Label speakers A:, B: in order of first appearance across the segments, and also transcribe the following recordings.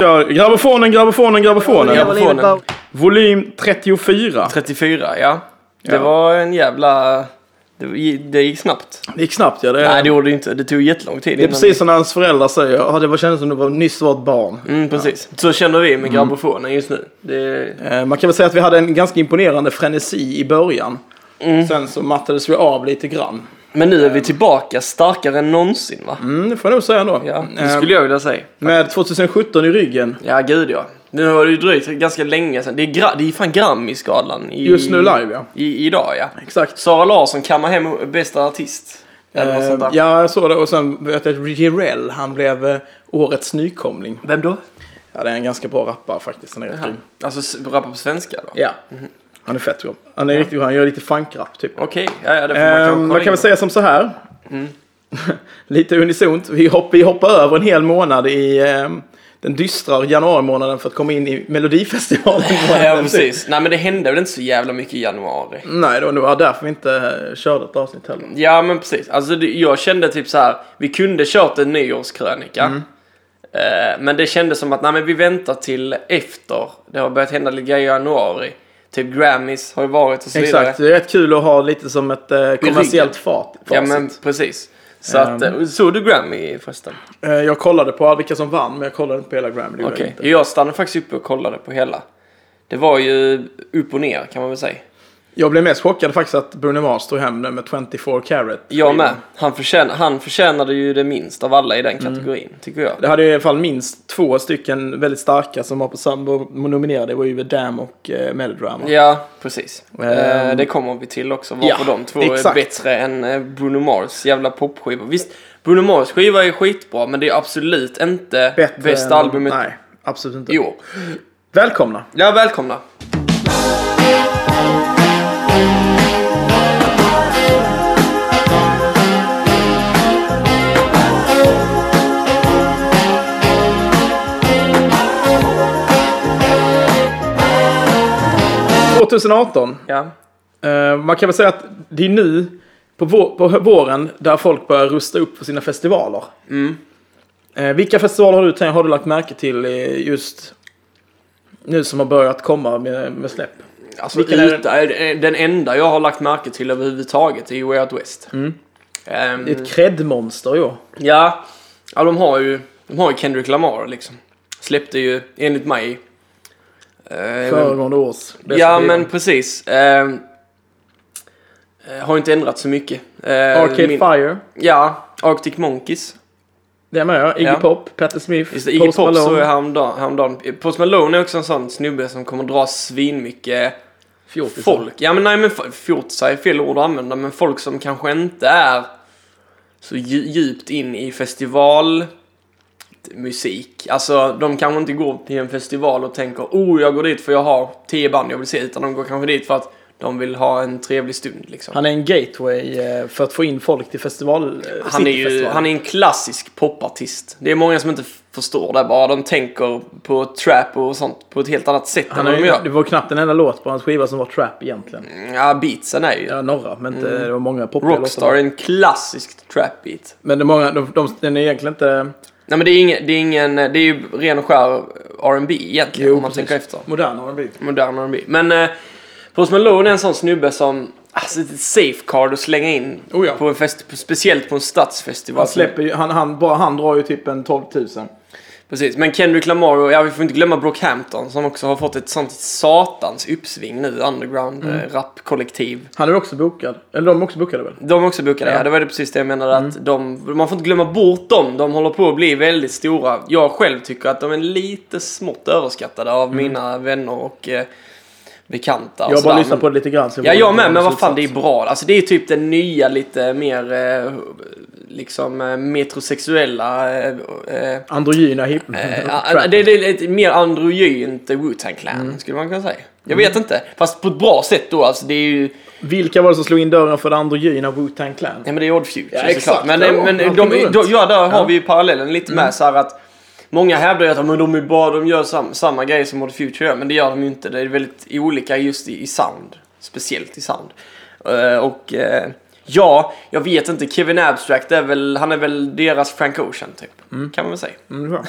A: kör grabofonen, grabofonen, grabofonen.
B: Grabofon. telefonen.
C: Bara-
A: Volym 34.
B: 34, ja. Det
A: Ja.
B: var en jävla... Det, var- det gick snabbt.
A: Det gick snabbt ja. Det,
B: Nej, det gjorde det inte. Det tog jättelång tid.
A: det är precis som när hans föräldrar säger att det var kändes som du var nyss var ett barn.
B: Mm, precis. Så känner vi med
A: Mm.
B: grabofonen just nu. Det...
A: Eh, Man kan väl säga att vi hade en ganska imponerande frenesi i början.
B: Mm.
A: Sen så mattades vi av lite grann.
B: Men nu är vi tillbaka starkare än någonsin, va?
A: Mm, det får jag nog säga ändå.
B: Ja, det
A: Eh,
B: skulle jag vilja säga.
A: Med 2017 i ryggen.
B: Ja, gud ja. Nu har det ju dröjt ganska länge sedan. Det är, gra- det är fan Grammisgalan i...
A: Just nu live ja.
B: I, idag, ja.
A: Exakt.
B: Sara Larsson kammar hem bästa artist. Eller något sånt
A: Eh,
B: där.
A: ja, jag såg det. Och sen vet jag att Jireel, han blev eh, årets nykomling.
B: Vem då?
A: Ja, det är en ganska bra rappare faktiskt. Han är rätt grym.
B: Alltså, s- rappar på svenska då?
A: Ja. Mm-hmm. Han är fett grym. Han är riktigt Han gör lite funkrap typ.
B: Okej, ja, ja, det får man kanske
A: Eh,
B: kolla
A: man kan
B: in. Mm.
A: väl säga som så här. Lite unisont. Vi, hopp, vi hoppar över en hel månad i ehm, den dystra januarimånaden för att komma in i Melodifestivalen. typ.
B: Ja, precis. Nej, men det hände väl inte så jävla mycket i januari.
A: Nej, det var nog därför vi inte eh, körde ett avsnitt heller.
B: Ja, men precis. Alltså, det- jag kände typ så här. Vi kunde kört en nyårskrönika.
A: Mm.
B: Eh, men det kändes som att nej, men vi väntar till efter. Det har börjat hända lite grejer i januari. Typ Grammys har ju varit och så vidare.
A: Exakt, det är rätt kul att ha lite som ett eh, kommersiellt fat, facit. Ehm.
B: Ja, men precis. Så att, eh, såg du Grammy förresten?
A: Eh, jag kollade på vilka som vann, men jag kollade inte på hela Grammy. det gjorde jag
B: Okej.
A: inte.
B: Jag stannade faktiskt uppe och kollade på hela. Det var ju upp och ner kan man väl säga.
A: Jag blev mest chockad faktiskt att Bruno Mars tog hem den med 24 karat.
B: Jag med. Han, förtjän han förtjänade ju det minst av alla i den
A: Mm.
B: kategorin, tycker jag.
A: Det hade ju i alla fall minst två stycken väldigt starka som var på samma nominerade. Det var ju The Dam och eh, Melodrama.
B: Ja, precis.
A: Ehm.
B: Eh, det kommer vi till också, varför
A: Ja,
B: de två är
A: exakt.
B: bättre än eh, Bruno Mars jävla popskiva. Visst, Bruno Mars skiva är skitbra, men det är absolut inte
A: Bättre
B: bästa
A: än-
B: albumet
A: Nej, absolut inte.
B: i år.
A: Välkomna!
B: Ja, välkomna.
A: Mm. 2018.
B: Ja.
A: Eh, man kan väl säga att det är nu på, vå- på hö- våren där folk börjar rusta upp för sina festivaler.
B: Mm.
A: Eh, vilka festivaler har du, tänkt- har du lagt märke till eh, just nu som har börjat komma med, med släpp?
B: Alltså,
A: Vilken är
B: uta, eh, den enda jag har lagt märke till överhuvudtaget är ju Way Out West. Ehm,
A: Mm. Det är ett cred-monster i år.
B: ja, ja, de har ju de har ju Kendrick Lamar liksom. Släppte ju, enligt mig... eh,
A: Föregående års bästa
B: ja,
A: skiva.
B: men precis. Ehm, eh, har inte ändrat så mycket. Eh,
A: Arcade
B: min-
A: Fire.
B: Ja, Arctic Monkeys.
A: Det är med ja. Iggy
B: Ja.
A: Pop, Patti Smith,
B: Just det, Iggy Pop såg jag
A: Malone.
B: häromdagen, häromdagen. Post Malone är också en sån snubbe som kommer dra svinmycket
A: Fjortisar.
B: folk. Ja, men nej, men f- fjortisar är fel ord att använda, men folk som kanske inte är så dju- djupt in i festival musik. Alltså, de kanske inte går till en festival och tänker oh, jag går dit för jag har tio band jag vill se, utan de går kanske dit för att de vill ha en trevlig stund liksom.
A: Han är en gateway eh, för att få in folk till festival. eh,
B: Han är ju
A: cityfestival.
B: han är en klassisk popartist. Det är många som inte f- förstår det bara. De tänker på trap och sånt på ett helt annat sätt
A: Han
B: än
A: är
B: vad de
A: ju, det
B: gör.
A: var knappt en enda låt på hans skiva som var trap egentligen.
B: Ja, beatsen är ju...
A: Ja, några, men inte, det var många poplåtar.
B: Mm. Rockstar är en klassisk trap-beat.
A: Men det är många, de, de, den är egentligen inte...
B: Nej men det är, ingen, det är ingen, det är ju ren och skär R&B egentligen om man
A: precis.
B: tänker efter.
A: Modern har den blivit.
B: Modern R&B. Men eh, Post Malone är en sån snubbe som, alltså det är ett safeguard att slänga in.
A: Oh ja.
B: på en fest, på, speciellt på en stadsfestival.
A: Han släpper ju, han, han, bara han drar ju typ en 12 000.
B: Precis, men Kendrick Lamar och, ja vi får inte glömma Brockhampton som också har fått ett sånt satans uppsving nu, underground
A: Mm.
B: eh, rapkollektiv.
A: Han är också bokad. Eller de är också bokade väl?
B: De är också bokade, ja.
A: Ja. Mm.
B: det var det precis det jag menade att de, man får inte glömma bort dem, de håller på att bli väldigt stora. Jag själv tycker att de är lite smått överskattade av mina vänner och eh, bekanta.
A: Mm. jag har
B: och
A: bara
B: sådär,
A: lyssnat
B: men-
A: på det lite grann. så
B: Ja,
A: får
B: jag
A: inte
B: med,
A: dra
B: men
A: någon
B: vad fan det är
A: slutsats.
B: bra. Alltså det är typ den nya lite mer eh, liksom eh, metrosexuella eh, eh,
A: Androgyna hip...
B: Ja, det, det är ett mer androgynt Wu-Tang Clan,
A: Mm.
B: skulle man kunna säga. Jag vet inte, fast på ett bra sätt då. Alltså, det är ju...
A: Vilka var det som slog in dörren för det androgyna Wu-Tang Clan?
B: Ja, men det är Odd Future
A: Ja,
B: såklart.
A: exakt.
B: Men,
A: Ja,
B: men de,
A: allting
B: de,
A: går runt. Mm.
B: ja, där har vi ju parallellen lite med så här att Många hävdar ju att "Ja, men de, är bara, de gör sam, samma grej som Odd Future gör, men det gör de ju inte. Det är väldigt olika just i, i sound. Speciellt i sound. Eh, och eh, Ja, jag vet inte. Kevin Abstract är väl, han är väl deras Frank Ocean typ. Kan man väl säga.
A: Mm, det är bra.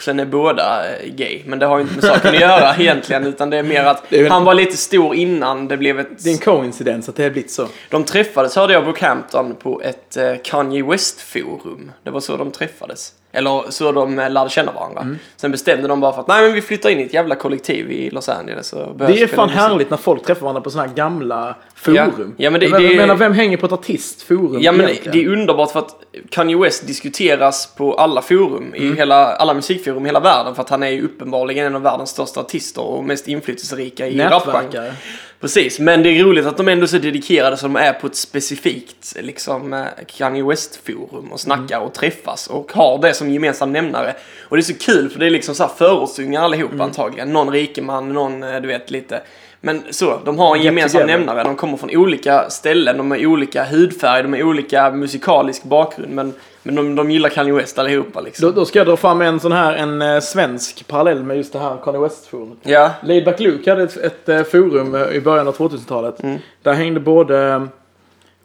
B: Sen är båda eh, gay, men det har ju inte med saken att göra egentligen. Utan det är mer att
A: Det är väl-
B: han var lite stor innan det blev ett...
A: Det är en coincidens att det har blivit så.
B: De träffades, hörde jag, i Brookhampton på ett eh, Kanye West-forum. Det var så de träffades. Eller så de eh, lärde känna varandra.
A: Mm.
B: Sen bestämde de bara för att nej men vi flyttar in i ett jävla kollektiv i Los Angeles. Och börjar
A: Det är
B: spela
A: fan
B: musik."
A: härligt när folk träffar varandra på sådana här gamla forum.
B: Ja, men det-
A: jag
B: det-
A: menar, vem hänger på ett artistforum
B: Ja men
A: egentligen?
B: det är underbart för att Kanye West diskuteras på alla forum
A: Mm.
B: i hela, alla musikforum i hela världen för att han är ju uppenbarligen en av världens största artister och mest inflytelserika i rapgenren.
A: Nätverkare.
B: Precis, men det är roligt att de ändå är så dedikerade som de är på ett specifikt liksom eh, Kanye West-forum och snackar och träffas och har det som gemensam nämnare. Och det är så kul för det är liksom så här förortsungar allihop
A: Mm.
B: antagligen. Någon rikeman, någon eh, du vet lite. Men så, de har en
A: Get
B: gemensam
A: together.
B: nämnare. De kommer från olika ställen, de har olika hudfärg, de har olika musikalisk bakgrund. Men, men de, de gillar Kanye West allihopa liksom.
A: Då, då ska jag dra fram en sån här, en eh, svensk parallell med just det här Kanye West-forumet.
B: Ja,
A: Laidback Luke hade ett, ett eh, forum eh, i början av 2000-talet.
B: Mm.
A: Där hängde både, eh,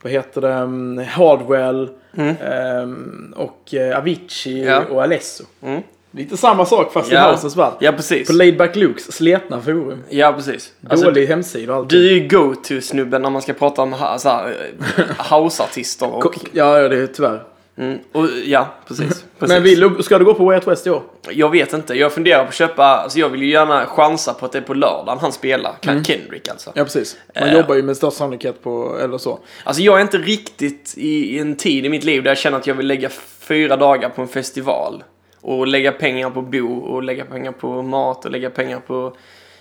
A: vad heter det, mm, Hardwell ehm, och eh, Avicii
B: Mm. Ja.
A: och Alesso.
B: Mm.
A: Lite samma sak fast i
B: Ja.
A: housens värld.
B: ja precis.
A: På Laidback Lukes sletna forum.
B: Ja, precis. Alltså,
A: Dålig hemsida och allt.
B: Du är ju go-to-snubben när man ska prata om ha- så här, eh, houseartister och...
A: Ja, ja, det är tyvärr.
B: Mm, och ja, precis. precis.
A: Men vill du, ska du gå på Way Out West i år?
B: Jag vet inte, jag funderar på att köpa... Alltså jag vill ju gärna chansa på att det är på lördagen han spelar.
A: Mm.
B: Ken- Kendrick alltså.
A: Ja, precis. Man
B: Eh.
A: jobbar ju med största sannolikhet på, eller så.
B: Alltså jag är inte riktigt i, i en tid i mitt liv där jag känner att jag vill lägga fyra dagar på en festival. Och lägga pengar på bo och lägga pengar på mat och lägga pengar på...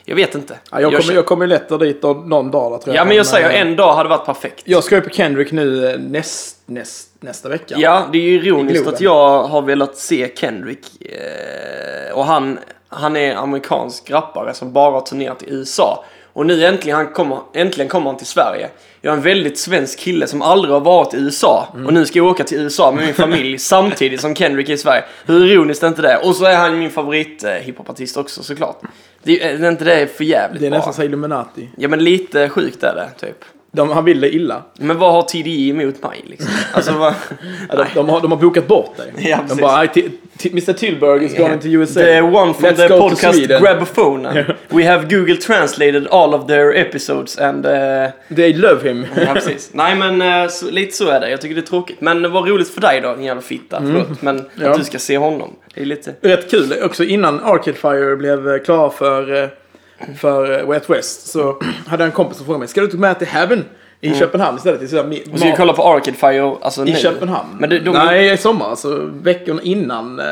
B: Jag vet inte.
A: Ja, jag, kommer,
B: känner-
A: jag kommer lätt dit någon, någon dag, där, tror jag. eh,
B: ja men jag säger en dag hade varit perfekt.
A: Jag ska ju på Kendrick nu eh, näst, näst, nästa vecka.
B: Ja, det är ju
A: I
B: ironiskt
A: Globen.
B: att jag har velat se Kendrick. Eh, och han, han är amerikansk rappare som bara har turnerat i USA. Och nu äntligen, han kommer, äntligen kommer han till Sverige. Jag är en väldigt svensk kille som aldrig har varit i USA.
A: Mm.
B: Och nu ska jag åka till USA med min familj samtidigt som Kendrick är i Sverige. Hur ironiskt är inte det? Och så är han min favorit eh, hiphopartist också såklart. Det är, är inte det för jävligt
A: Det är
B: bra?
A: nästan så Illuminati.
B: Ja men lite sjukt är det, typ.
A: De, han ville illa.
B: Men vad har TDI emot mig liksom? Alltså vad...
A: Ja, De, de, har, de har bokat bort dig.
B: Ja,
A: de
B: precis.
A: bara, "I- ti- ti- Mr Tillberg is going to USA.
B: The one from
A: Let's go
B: the
A: to
B: podcast
A: Sweden."
B: grab a phone. We have Google translated all of their episodes and... eh,
A: They love him.
B: ja, precis. Nej, men eh, så, lite så är det. Jag tycker det är tråkigt. Men vad roligt för dig då, din jävla fitta. Förlåt, men
A: Mm. Ja.
B: att du ska se honom. Det är lite...
A: Rätt kul också innan Arcade Fire blev eh, klara för, eh, för eh, Way Out West så hade jag en kompis som frågade mig, ska du inte med till Heaven i
B: Mm.
A: Köpenhamn istället? I, så här, mi-
B: Vi ska ju
A: ma-
B: kolla på Arcade Fire alltså,
A: i
B: nu.
A: Köpenhamn?
B: Men det, de,
A: Nej, i sommar. Alltså veckorna innan, eh,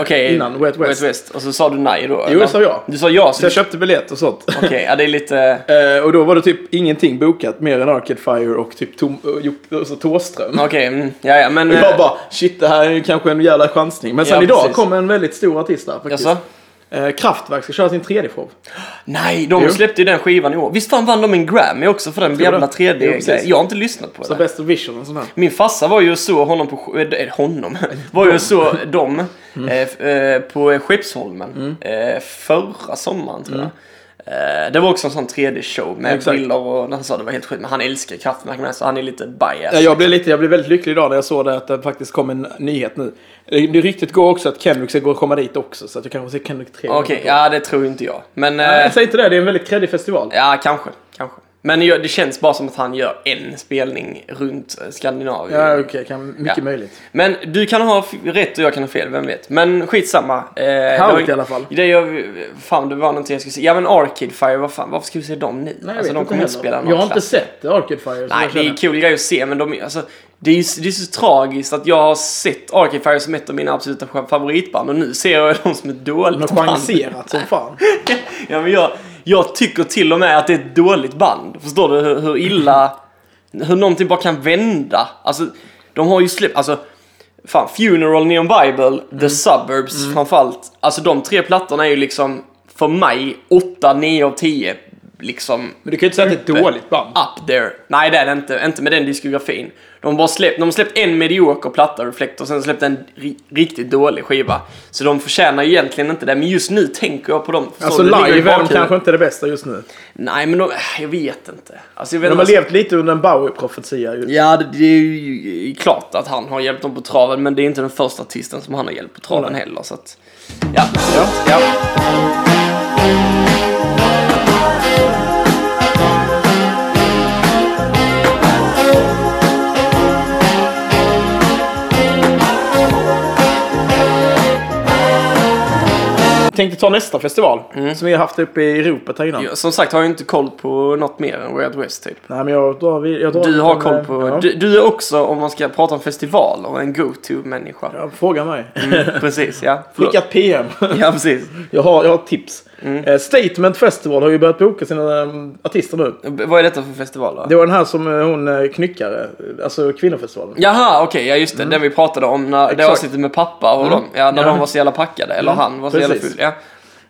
B: Okej,
A: innan Way Out West.
B: Och så sa du nej då?
A: Jo,
B: eller?
A: det sa jag.
B: Du sa ja, så...
A: Så jag köpte biljett och sånt.
B: Okej, ja, det är lite...
A: Eh, och då var det typ ingenting bokat mer än Arcade Fire och typ Tom, och Jop- och så Thåström.
B: Okej, mm, ja, ja, men...
A: Och
B: eh,
A: Jag bara, shit det här är ju kanske en jävla chansning. Men sen
B: Ja,
A: idag
B: precis.
A: kom en väldigt stor artist där faktiskt.
B: Jaså?
A: Eh, Kraftwerk ska köra sin tredje show.
B: Nej, de
A: Jo.
B: släppte ju den skivan i år. Visst fan vann de en Grammy också för den
A: Tror du
B: jävla
A: det?
B: 3D-grejen?
A: Jo, precis.
B: jag har inte lyssnat på
A: Så
B: det.
A: Best of Vision och sån här.
B: Min farsa var ju och såg honom på... sk- eh, Honom? Var ju och såg dem
A: Mm.
B: eh, f- eh, på Skeppsholmen eh, förra sommaren tror jag. Eh, Det var också en sån 3D-show med
A: Exakt.
B: bilder och han sa det var helt sjukt. Men han älskar Kraftwerk med så han är lite biased.
A: Eh, Jag blev, lite, jag blev väldigt lycklig idag när jag såg det att det faktiskt kom en nyhet nu. Det, det ryktet går också att Kendrick ska gå och komma dit också. Så att jag kanske ser Kendrick tre
B: Okej, ja det tror inte jag. Men... eh,
A: Nej, säg inte det. Det är en väldigt kreddig festival.
B: Ja, kanske. Kanske. Men jag- det känns bara som att han gör en spelning runt eh, Skandinavien.
A: Ja, okej. kan, mycket
B: Ja.
A: möjligt.
B: Men du kan ha f- rätt och jag kan ha fel, vem vet. Men skitsamma. Eh, det var ju-
A: i alla fall.
B: Det jag, fan, det var någonting jag skulle säga. Ja men Arcade Fire, vad fan, varför ska vi se dem nu?
A: Nej, jag
B: alltså,
A: vet
B: de
A: inte
B: kommer inte
A: heller.
B: spela någon
A: Jag har inte
B: klass.
A: sett Arcade Fire. så
B: Nej,
A: jag
B: det är
A: känner-
B: en kul grej att se, men de, är- alltså, det, är, ju- det är så tragiskt att jag har sett Arcade Fire som ett av mina absoluta favoritband och nu ser jag dem som ett
A: De
B: dåligt
A: har
B: band.
A: chanserat som fan.
B: ja, men jag, jag tycker till och med att det är ett dåligt band. Förstår du hur, hur illa... Hur någonting bara kan vända. Alltså, de har ju släppt... Alltså, fan, Funeral, Neon Bible,
A: Mm.
B: The Suburbs framförallt. Alltså de tre plattorna är ju liksom, för mig, 8, 9 av 10 liksom
A: Men du kan ju inte säga att det är ett dåligt band.
B: up there. Nej, det är det inte. Inte med den diskografin. De har bara släppt, de har släppt en medioker platta, Reflect, och sen släppt en ri- riktigt dålig skiva. Så de förtjänar egentligen inte det, men just nu tänker jag på dem. Förstår
A: Alltså
B: du? Det ligger i
A: live är de
B: bakhuvudet.
A: kanske inte det bästa just nu.
B: Nej, men de, jag vet inte. Alltså, jag vet
A: De
B: inte
A: har
B: vad jag
A: levt lite under en Bowie-profetia ju.
B: Ja, det, det är ju klart att han har hjälpt dem på traven, men det är inte den första artisten som han har hjälpt på traven heller. Så att, ja,
A: Ja.
B: ja.
A: Jag tänkte ta nästa festival, som vi har haft uppe i ropet här innan.
B: Mm. Ja, Som sagt har jag inte koll på något mer än Way Out West typ.
A: Nej, men jag, då har vi, jag drar
B: Du har
A: en,
B: koll
A: eh,
B: på...
A: Ja.
B: Du, du är också, om man ska prata om festivaler, en go-to-människa.
A: Ja, fråga mig.
B: Mm. Precis, ja. Förlåt.
A: Skicka ett PM.
B: Ja, precis.
A: jag, har, jag har tips.
B: Mm.
A: Eh, Statement Festival har ju börjat boka sina eh, artister nu.
B: B- Vad är detta för festival då?
A: Det var den här som eh, hon eh, knyckare, eh, alltså kvinnofestivalen.
B: Jaha, okej, ja just det. Den vi pratade om när det
A: Mm. Exakt. Mm.
B: avsnittet med pappa och dem. Ja, när
A: Ja.
B: de var så jävla packade. Eller
A: Mm,
B: han var så jävla
A: precis.
B: full.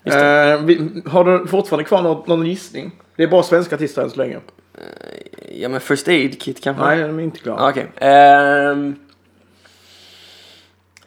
B: Ja.
A: Eh, vi, har du fortfarande kvar någon, någon gissning? Det är bara svenska artister än så länge.
B: ja, men First Aid Kit kanske?
A: Nej, de är inte klara.
B: Ah, Okej. Ehm,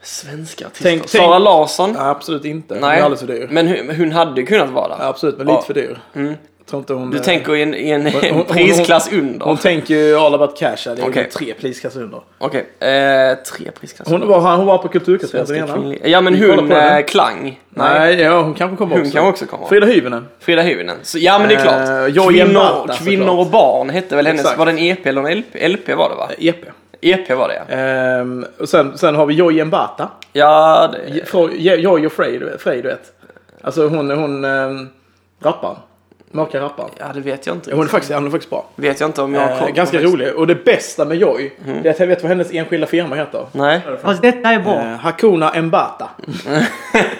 B: svenska artister.
A: Tänk-
B: Sara
A: tänk-
B: Larsson?
A: Nej, absolut inte. Hon
B: Nej.
A: är alldeles för dyr.
B: Men hon, hon hade kunnat vara där.
A: Absolut, men
B: Ja. Mm.
A: lite för dyr. Jag tror inte hon...
B: Du
A: eh,
B: tänker i en, i en
A: hon- hon-
B: prisklass under?
A: Hon tänker ju all about cash. här. Det är
B: Okej.
A: ju tre prisklasser under.
B: Okej, eh, tre prisklasser.
A: Hon var, hon var på Kulturkassetten
B: Svenska
A: innan.
B: kvinnliga- Ja men
A: Vi kollar
B: hon
A: på den.
B: eh, Klang. Nej.
A: Nej, ja, hon kanske kommer
B: Hon
A: också.
B: kan också komma.
A: Frida Hyvönen.
B: Frida Hyvönen. Så, ja men det är
A: Eh,
B: klart.
A: Jojje
B: kvinnor
A: Marta, såklart.
B: kvinnor och barn hette väl hennes.
A: Exakt.
B: Var det en EP eller en LP? LP var det va?
A: EP.
B: EP var det ja.
A: Ehm, och sen, sen har vi Joy Mbata.
B: Ja, det,
A: Fro- Je- Joy och Frey, du vet- Frey, du vet. Alltså hon, hon um, rapparen. Mörka rapparen.
B: ja, det vet jag inte.
A: Hon är faktiskt, hon är faktiskt bra.
B: Vet jag inte om jag har
A: Eh,
B: koll på Mm.
A: ganska
B: faktiskt.
A: rolig. Och det bästa med Joy, det är att jag vet vad hennes enskilda firma heter.
B: Nej.
C: Fast Alltså, detta är bra.
A: Eh, Hakuna Mbata.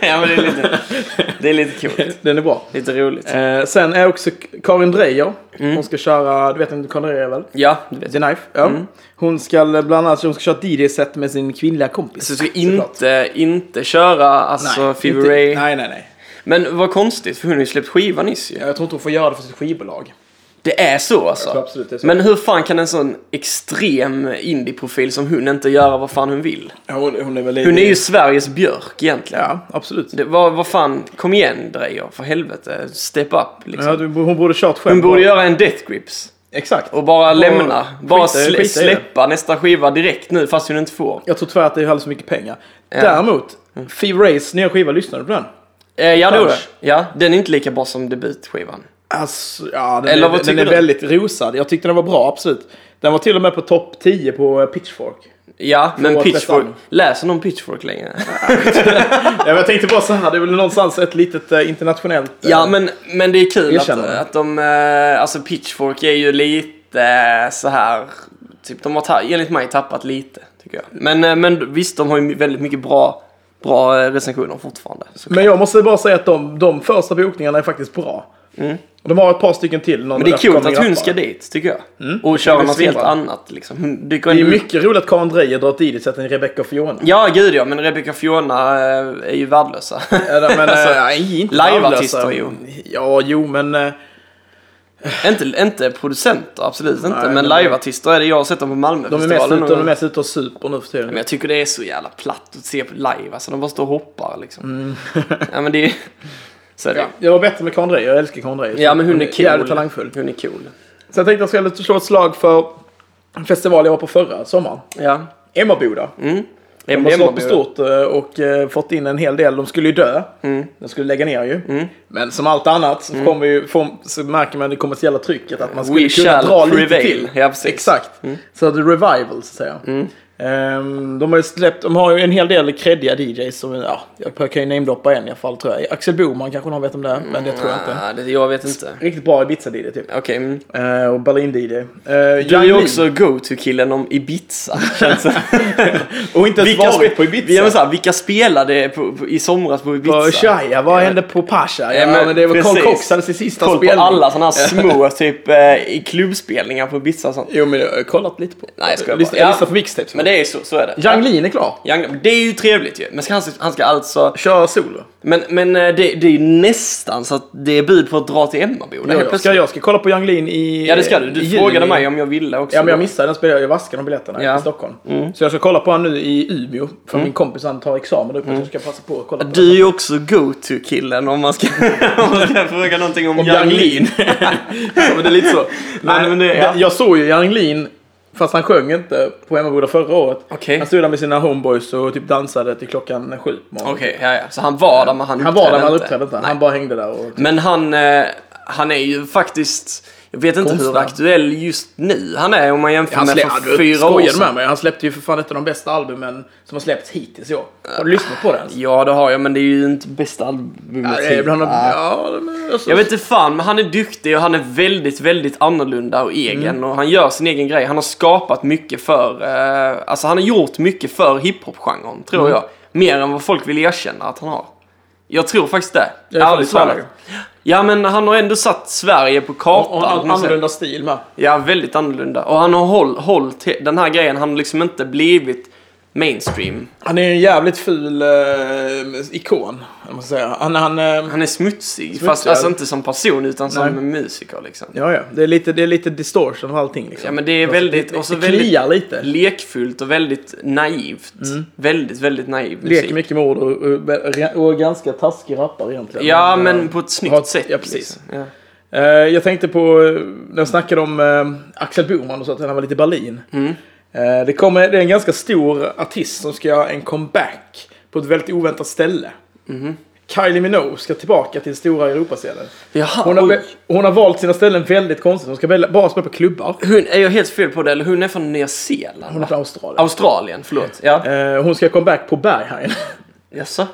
B: ja men det är lite, det är lite coolt.
A: Den är bra.
B: Lite roligt.
A: Eh, sen är också K- Karin Dreijer.
B: Mm.
A: Hon ska köra, du vet inte Karin Dreijer väl?
B: Ja, det vet
A: The Knife. Ja.
B: Mm.
A: Hon ska bland annat hon ska köra ett DJ-set med sin kvinnliga kompis.
B: Så du ska
A: Såklart.
B: inte, inte köra alltså Fever
A: inte-
B: Ray.
A: Nej, nej, nej.
B: Men vad konstigt, för hon har ju släppt skiva nyss ju.
A: Jag tror inte hon får göra det för sitt skivbolag.
B: Det är så alltså?
A: tror absolut det är så.
B: Men hur fan kan en sån extrem indie-profil som hon inte göra vad fan hon vill?
A: Hon, hon är väl
B: Hon är ju Sveriges Björk egentligen.
A: Ja, absolut.
B: Det, vad, vad fan, kom igen Drejer, för helvete. Step up liksom.
A: Ja, du, hon borde kört själv.
B: Hon borde göra en Death Grips.
A: Exakt.
B: Och bara lämna. Bara
A: skita i-
B: slä,
A: skita i det.
B: släppa nästa skiva direkt nu fast hon inte får.
A: Jag tror tyvärr att det är alldeles för mycket pengar. Däremot,
B: Mm.
A: Fever Rays nya skiva, lyssnade du på den?
B: Eh, ja, det gjorde
A: Punch.
B: jag. ja, den är inte lika bra som debutskivan.
A: Alltså, ja, den
B: Eller
A: är,
B: vad
A: den
B: tycker
A: är
B: du?
A: väldigt rosad. Jag tyckte den var bra, absolut. Den var till och med på topp 10 på eh, Pitchfork.
B: Ja, men
A: Förlåt,
B: Pitchfork.
A: Stefan.
B: Läser någon Pitchfork längre?
A: ja, men jag tänkte bara så här, det är väl någonstans ett litet eh, internationellt... eh,
B: Ja, men, men det är kul att,
A: Erkänner.
B: att de... eh, Alltså Pitchfork är ju lite eh, så här... Typ, de har ta- enligt mig tappat lite, tycker jag. Men, eh, men visst, de har ju väldigt mycket bra, bra eh, recensioner fortfarande. Så.
A: Men jag måste bara säga att de, de första bokningarna är faktiskt bra. De har ett par stycken till. Någon
B: Mm. Men det är
A: upcoming
B: coolt att hon
A: rappare.
B: ska dit, tycker jag. Och köra
A: Mm. Det är
B: något helt
A: svinbra.
B: annat, liksom. Hon dyker
A: Det är
B: in-
A: mycket roligt att Karin Dreijer drar ett idiot än Rebecca och Fiona.
B: Ja, gud ja, men Rebecca och Fiona eh, är ju värdelösa.
A: Eller, men alltså, nej, inte
B: eh, Liveartister,
A: värdelösa.
B: jo.
A: Ja, jo, men... eh,
B: inte, inte producenter, absolut inte,
A: Nej,
B: men
A: men-
B: liveartister är det. Jag har sett dem på
A: De är mest
B: Malmöfestivalen.
A: ute, de är
B: och-
A: mest ute och super nu för tiden.
B: Men jag tycker det är så jävla platt att se på live. Alltså de bara står och hoppar liksom. ja men det är Så är det
A: Mm. Ja, jag var bättre med Karin Dreijer. Jag älskar Karin Dreijer.
B: Ja men hon är cool.
A: Jävligt talangfull.
B: Hon är cool.
A: Så jag tänkte att jag skulle slå ett slag för en festival jag var på förra sommaren.
B: Ja.
A: Emmaboda.
B: Mm.
A: De har slått på stort eh, och eh, fått in en hel del. De skulle ju dö.
B: Mm.
A: De skulle lägga ner ju. Men som allt annat så, kommer ju, får, så märker man det kommersiella trycket att man skulle
B: We
A: kunna
B: shall
A: dra lite
B: prevail.
A: till.
B: Ja, precis. Mm.
A: Exakt. Så the revival så att säga. Ehm, de har ju släppt, de har ju en hel del creddiga DJs som, ja, jag kan ju namedroppa en i alla fall tror jag. Axel Boman kanske någon vet om det, är, men det tror jag inte.
B: Ah, det, jag vet inte.
A: Riktigt bra Ibiza-DJ typ.
B: Okej. mm.
A: Eh, och Berlin-DJ. Uh,
B: Du är ju också go-to-killen om Ibiza. Känns det.
A: Och inte ens
B: spe-
A: varit på Ibiza.
B: Ja, men så här, vilka spelade på, på, i somras på Ibiza?
A: På Shia, vad hände på Pasha? Ja,
B: Ja, men
A: men det var Carl
B: precis.
A: Cox hade sin sista
B: Koll på
A: spelning.
B: alla sådana här små typ eh, i klubbspelningar på Ibiza och sånt.
A: Jo men jag har kollat lite på.
B: Nej, jag skojar
A: Lyssna,
B: bara.
A: jag
B: Ja.
A: lyssnar på mixtapes.
B: Men det är så, så är det.
A: Yang Lean är klar.
B: Young, det är ju trevligt ju. Men ska han, han ska alltså...
A: Kör solo.
B: Men, men eh, det, det är ju nästan så att det är bud på att dra till Emmaboda
A: Jag,
B: helt
A: jag, ska,
B: plötsligt.
A: jag ska kolla på Yang Lean i
B: Ja det ska du.
A: i
B: Du
A: juni.
B: frågade mig om jag ville också.
A: Ja, men jag missade den spelade Jag vaskade de biljetterna
B: Ja. Mm.
A: i Stockholm. Så jag ska kolla på honom nu i Umeå. För min kompis han tar examen uppe. Så jag ska passa på att kolla på
B: Mm. Du är ju också go-to-killen om man ska, om man ska fråga någonting om,
A: Om
B: Yang
A: Yang
B: Lin.
A: Ja, men det är lite så.
B: Nej, men det- ja.
A: Jag såg ju Yang Lean, fast han sjöng inte, på Emmaboda förra året.
B: Okej.
A: Han stod där med sina homeboys och typ dansade till klockan sju på morgonen.
B: Okej, ja, ja. Så han var där men han
A: Han var där, men han
B: inte.
A: uppträdde inte. Han bara hängde där och...
B: Men han, eh, han är ju faktiskt, jag vet inte hur
A: Konstnär.
B: aktuell just nu han är om man jämför
A: Han
B: med
A: släppte,
B: för
A: du
B: fyra år
A: skojar du
B: sedan.
A: med mig? Han släppte ju för fan ett av de bästa albumen som har släppts hittills i år. Har du lyssnat på det ens?
B: Ja det har jag men det är ju inte bästa albumet.
A: Ja, det är bland de...
B: Ah.
A: Ja, men alltså,
B: Jag vet inte fan, men han är duktig och han är väldigt, väldigt annorlunda och egen
A: Mm.
B: och han gör sin egen grej. Han har skapat mycket för, eh, alltså han har gjort mycket för hiphop-genren, tror
A: Mm.
B: jag. Mer än vad folk vill erkänna att han har. Jag tror faktiskt det.
A: Jag är från
B: Ärligt talat.
A: Sverige.
B: Ja, men han har ändå satt Sverige på kartan.
A: Och
B: på
A: en
B: något sätt.
A: annorlunda stil med.
B: Ja, väldigt annorlunda. Och han har håll, hållt he- den här grejen, han har liksom inte blivit mainstream.
A: Han är en jävligt ful eh, ikon, jag måste säga. Han, han, eh,
B: Han är smutsig, fast
A: Smutsig,
B: alltså
A: ja.
B: inte som person utan som
A: Nej.
B: musiker liksom.
A: Ja, ja. Det är lite, det är lite distortion av allting. Liksom.
B: Ja, men det är väldigt- och så
A: det
B: väldigt-
A: kliar lite.
B: lekfullt och väldigt naivt. Väldigt, väldigt naiv musik.
A: Mm. Leker mycket med ord och, och, och ganska taskig rappare egentligen. eh,
B: Ja, men på ett snyggt
A: Har-
B: sätt. liksom.
A: ja, precis.
B: Ja.
A: Eh, jag tänkte på, eh, när jag snackade om eh, Axel Boman och så att han var lite i Berlin.
B: Mm.
A: Eh, det, kommer, det är en ganska stor artist som ska göra en comeback på ett väldigt oväntat ställe.
B: Mhm.
A: Kylie Minogue ska tillbaka till stora Europascener.
B: Jaha,
A: Hon, har
B: Ah, oj.
A: vä- hon har valt sina ställen väldigt konstigt. Hon ska välja, bara spela på klubbar.
B: Hon, är jag helt fel på det? Eller hon är från Nya Zeeland?
A: Hon är
B: va?
A: från Australien.
B: Australien, förlåt. Ja.
A: Eh, hon ska comeback på Berghain.
B: Jaså?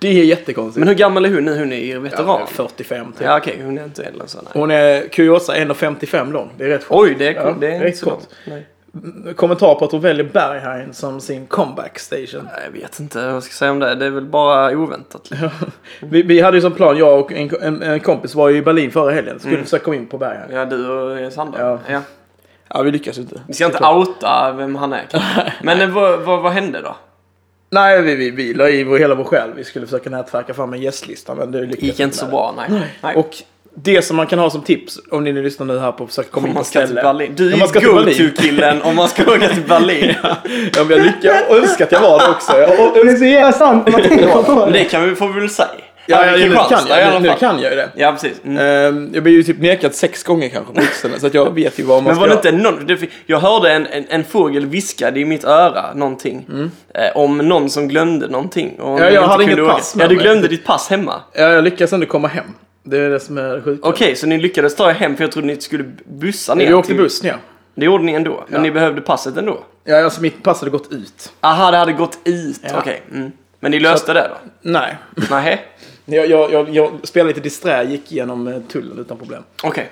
A: det är jättekonstigt.
B: Men hur gammal är hon nu? Hon är ju
A: Ja,
B: veteran.
A: 45 typ.
B: Ja, okej. Hon är inte äldre än så. Nej.
A: Hon är kuriosa 1,55 lång. Det är rätt sjukt.
B: Oj, det är,
A: Ja,
B: det är
A: det är
B: inte så
A: kort.
B: långt. Nej.
A: Kommentar på att hon väljer Berghain som sin comeback station.
B: Jag vet inte vad jag ska säga om det. Det är väl bara oväntat. liksom.
A: Vi, vi hade ju som plan, jag och en, en, en kompis var ju i Berlin förra helgen. Skulle försöka komma in på Berghain.
B: Ja, du och Sandra. Ja.
A: Ja. Ja, vi lyckas inte.
B: Vi ska inte outa vem han är. kanske. Men eh, vad, vad, vad hände då?
A: Nej, vi, vi, vi la i vår, hela vår själ. Vi skulle försöka nätverka fram en gästlista, men det lyckades
B: Gick inte så bra? Nej. nej.
A: Och det som man kan ha som tips, om ni nu lyssnar nu här på att försöka komma
B: Om
A: in på
B: man ska till
A: ställe.
B: Berlin. Du
A: Om
B: är
A: man ska till Berlin.
B: go-to-killen om man ska åka till Berlin.
A: Ja, men jag, lyckas, jag önskar att jag var det också. Jag, och, och det är så jävla sant när man tänker på
B: Men
A: det.
B: det kan vi, får vi väl säga.
A: Ja, ja,
B: Vilken
A: nu
B: chans
A: kan
B: där i alla
A: jag, nu, nu
B: fall.
A: kan jag ju det.
B: Ja, precis. Mm.
A: Ehm, Jag blir ju typ nekad sex gånger kanske på utställningen, så att jag vet ju vad man
B: Men
A: ska...
B: var det inte någon, det, jag hörde en, en, en fågel viskade i mitt öra någonting. Eh, om någon som glömde någonting. Och
A: Mm. jag
B: inte
A: hade
B: kunde
A: inget
B: åka.
A: pass med
B: Ja, du
A: mig.
B: glömde ditt pass hemma.
A: Ja, jag lyckas ändå komma hem. Det är det som är sjukt.
B: Okej, så ni lyckades ta er hem för jag trodde ni skulle bussa ner.
A: Vi åkte
B: till-
A: buss ner.
B: Det gjorde ni ändå. Men
A: Ja.
B: ni behövde passet ändå.
A: Ja, alltså mitt pass hade gått ut.
B: Aha, det hade gått ut.
A: Ja.
B: Okej. Mm. Men ni löste det då?
A: Nej.
B: Nej.
A: Jag, jag, jag, jag spelade lite disträ, gick igenom eh, tullen utan problem.
B: Okej.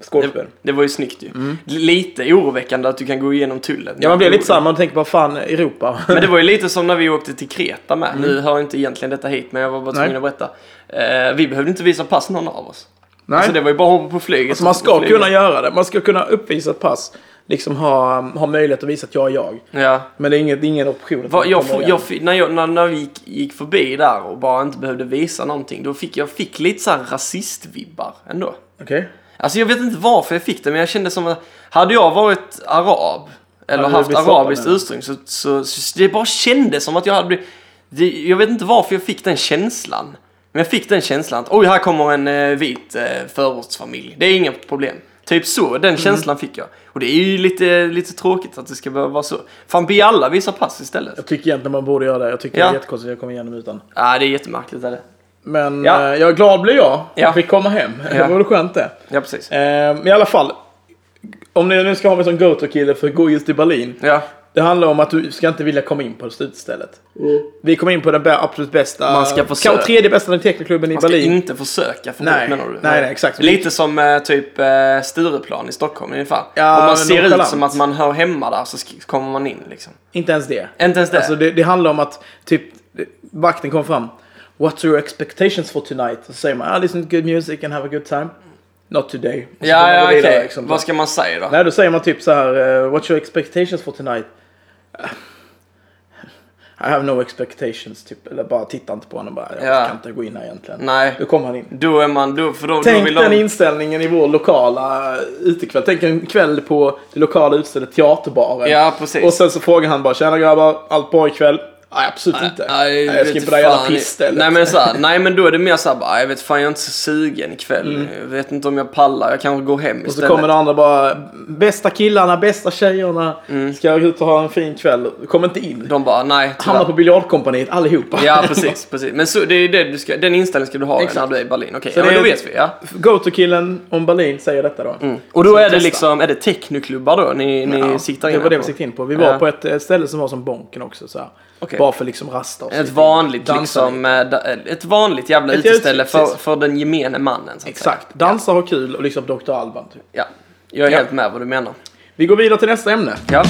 A: Skådespel. Mm.
B: Det var ju snyggt ju. Lite oroväckande att du kan gå igenom tullen.
A: Ja, man blir lite samma och tänker bara fan, Europa.
B: Men det var ju lite som när vi åkte till Kreta med. Nu hör inte egentligen detta hit, men jag var bara tvungen
A: Mm. Nej.
B: att berätta. Eh, vi behövde inte visa pass någon av oss.
A: Nej.
B: Så det var ju bara att hoppa på flyget.
A: Alltså man ska
B: Flyget.
A: kunna göra det. Man ska kunna uppvisa ett pass. Liksom ha, ha möjlighet att visa att jag är jag.
B: Ja.
A: Men det är ingen, det är ingen option. att
B: Va,
A: man
B: jag,
A: kommer
B: får-
A: igen.
B: jag, fick- när, jag, när, när vi gick, gick förbi där och bara inte behövde visa någonting, då fick jag fick lite så här rasistvibbar ändå.
A: Okej.
B: Alltså jag vet inte varför jag fick det, men jag kände som att hade jag varit arab eller
A: Hade du
B: haft
A: blivit stoppad
B: arabiskt
A: nu?
B: ursprung så, så, så det bara kändes som att jag hade blivit... Det, jag vet inte varför jag fick den känslan. Men jag fick den känslan att oj, här kommer en eh, vit eh, förortsfamilj. Det är inget problem. Typ så,
A: Mm.
B: den känslan fick jag. Och det är ju lite, lite tråkigt att det ska behöva vara så. Fan, be alla visa pass istället.
A: Jag tycker egentligen man borde göra det. Jag tycker det
B: Ja.
A: är jättekonstigt att jag kommer igenom utan.
B: Ja, det är jättemärkligt. Är det?
A: Men
B: Ja.
A: eh, jag är glad blir jag.
B: Ja.
A: Jag fick komma hem.
B: Ja.
A: Det var väl skönt det.
B: Ja, precis.
A: Eh, men i alla fall. Om ni nu ska ha mig som go-to-kille för att gå just till Berlin.
B: Ja.
A: Det handlar om att du ska inte vilja komma in på slutstället. Vi kom in på den bä- absolut bästa.
B: Man ska försöka.
A: Kanske tredje bästa technoklubben i
B: Man ska
A: Berlin.
B: inte försöka få bort
A: Nej,
B: menar du?
A: nej, nej, exakt.
B: Lite som eh, typ eh, Stureplan i Stockholm ungefär.
A: Ja,
B: Om man
A: men
B: ser ut
A: nonchalant.
B: som att man hör hemma där så sk- kommer man in liksom.
A: Inte ens det.
B: Inte ens det.
A: Alltså det, det handlar om att typ vakten kom fram. What's your expectations for tonight? Och så säger man, ah, listen to good music and have a good time. Not today. Och så går
B: ja,
A: man
B: ja,
A: vidare,
B: okej.
A: liksom.
B: Vad ska man säga då?
A: Nej, då säger man typ så här, eh, what's your expectations for tonight? I have no expectations, typ. Eller bara titta inte på honom bara. Jag
B: Ja.
A: kan inte gå in här egentligen.
B: Nej.
A: Då kommer han in.
B: Då är man... Då, för då, då
A: Tänk
B: vill
A: den
B: de...
A: inställningen i vår lokala utekväll. Tänk en kväll på det lokala utstället Teaterbaren.
B: Ja, precis.
A: Och sen så frågar han bara, tjena grabbar, allt bra ikväll? Nej, absolut inte. Nej, jag ska in på det här jävla pissstället.
B: Nej men, så här, nej men då är det mer såhär bara, "Ah, jag vet fan jag är inte så sugen ikväll. Jag vet inte om jag pallar, jag kanske går hem
A: Mm. Och
B: istället.
A: så kommer de andra bara, bästa killarna, bästa tjejerna, ska ut och ha en fin kväll. Kom inte in.
B: Mm. De bara, nej
A: Hamnar
B: tyvärr.
A: på biljardkompaniet allihopa.
B: Ja precis, precis. Men så, det är det du ska, den inställningen ska du ha
A: Exakt.
B: när du är i Berlin. Okej,
A: Så
B: ja,
A: det
B: men då
A: är-
B: vet vi. Ja.
A: Go-to-killen om Berlin säger detta då.
B: Och då
A: Så
B: är det
A: testa.
B: liksom, är det technoklubbar då ni, ni
A: Ja,
B: siktar
A: det
B: in
A: var det
B: er
A: vi
B: på?
A: siktade in på. Vi var
B: Ja.
A: på ett eh, ställe som var som Bonken också. Så här.
B: Okej.
A: Bara för liksom rasta och
B: Ett
A: så.
B: vanligt
A: Dansa
B: liksom, eh, da- ett vanligt jävla
A: Ett
B: uteställe för,
A: precis.
B: för den gemene mannen. Så att Säga.
A: Exakt. Dansa, ha kul och liksom Dr. Alban. Typ.
B: Ja, jag är
A: Ja.
B: helt med vad du menar.
A: Vi går vidare till nästa ämne.
B: Ja.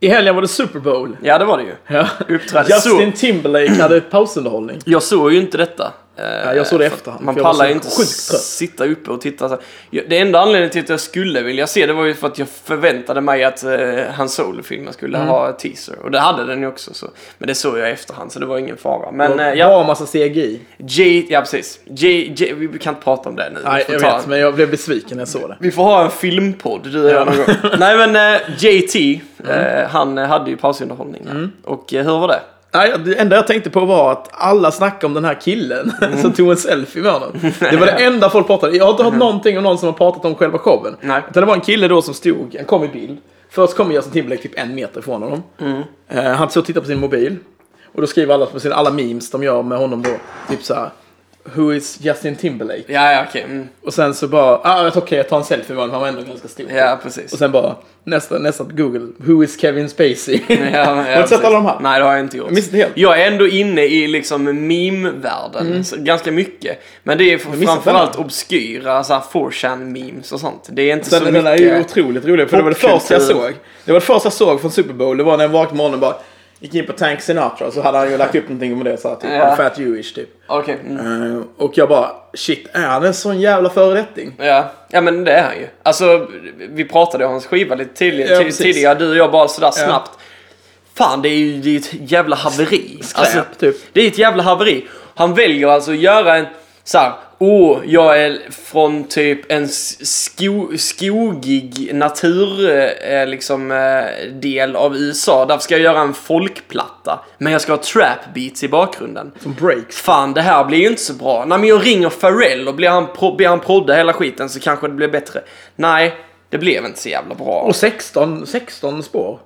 A: I helgen var det Super Bowl.
B: ja, det var det ju.
A: Ja.
B: Uppträdde
A: Justin Timberlake hade pausunderhållning.
B: Jag såg ju inte detta. Ja,
A: jag såg det i efterhand,
B: Man
A: för jag var
B: pallar
A: så
B: ju inte
A: sjukt trött.
B: sitta uppe och titta. Så här. Jag- Det enda anledningen till att jag skulle vilja se det var ju för att jag förväntade mig att eh, Han Solo-filmen skulle
A: Mm.
B: ha teaser. Och det hade den ju också. Så. Men det såg jag i efterhand så det var ingen fara. Men eh, ja,
A: Bra massa CGI.
B: J, ja precis. J, J, vi kan inte prata om det nu. Vi
A: Nej,
B: får
A: jag
B: ta-
A: vet, men jag blev besviken när jag såg det.
B: Vi får ha en filmpodd, du och jag någon gång. Nej men eh, JT, eh, han eh, hade ju pausunderhållning. ja. Och eh, hur var det?
A: Nej, det enda jag tänkte på var att alla snackade om den här killen
B: Mm.
A: som tog en selfie med honom. Det var det enda folk pratade Jag har inte hört någonting om någon som har pratat om själva showen.
B: Nej.
A: Utan det var en kille då som stod, han kom i bild. Först kom Justin Timberlake typ en meter ifrån honom.
B: Mm.
A: Eh, han stod och tittade på sin mobil. Och då skriver alla på sina, alla memes de gör med honom då, typ så här. Who is Justin Timberlake?
B: Ja, ja okej. Mm.
A: Och sen så bara, ah, okej jag tar en selfie med honom, han var ändå ganska stor.
B: Ja, precis.
A: Och sen bara, nästa, nästa Google, who is Kevin Spacey?
B: Ja, ja,
A: Har du inte
B: precis.
A: sett alla de här?
B: Nej, det har jag inte gjort.
A: Jag missade det helt.
B: Jag är ändå inne i liksom meme-världen, så ganska mycket. Men det är
A: missade
B: framförallt obskyra så här 4chan-memes och sånt. Det är inte
A: Den,
B: så
A: den
B: mycket...
A: är ju otroligt rolig, för det var det
B: Popkultur.
A: första jag såg. Det var det första jag såg från Super Bowl, det var när jag vaknade på morgonen och bara gick in på Tank Sinatra och så hade han ju lagt upp någonting om det så här, typ,
B: Ja.
A: I'm fat Jewish typ.
B: Okej. Mm.
A: Eh, och jag bara, shit, är han en sån jävla förorättning?
B: Ja. ja, men det är han ju. Alltså, vi pratade om hans skiva lite tidigare,
A: Ja,
B: ti-
A: precis.
B: tidigare du och jag bara sådär snabbt. Fan, det är ju det är ett jävla haveri. Alltså,
A: Skräp, typ.
B: Det är ett jävla haveri. Han väljer alltså att göra en så här, åh, jag är från typ en s- sko, skogig natur, eh, liksom, eh, del av USA. Därför ska jag göra en folkplatta. Men jag ska ha trap beats i bakgrunden.
A: Som breaks.
B: Fan, det här blir ju inte så bra. Nej, men jag ringer Pharrell och blir han, pro- ber han prodda hela skiten så kanske det blir bättre. Nej, det blev inte så jävla bra.
A: Och 16, 16 spår.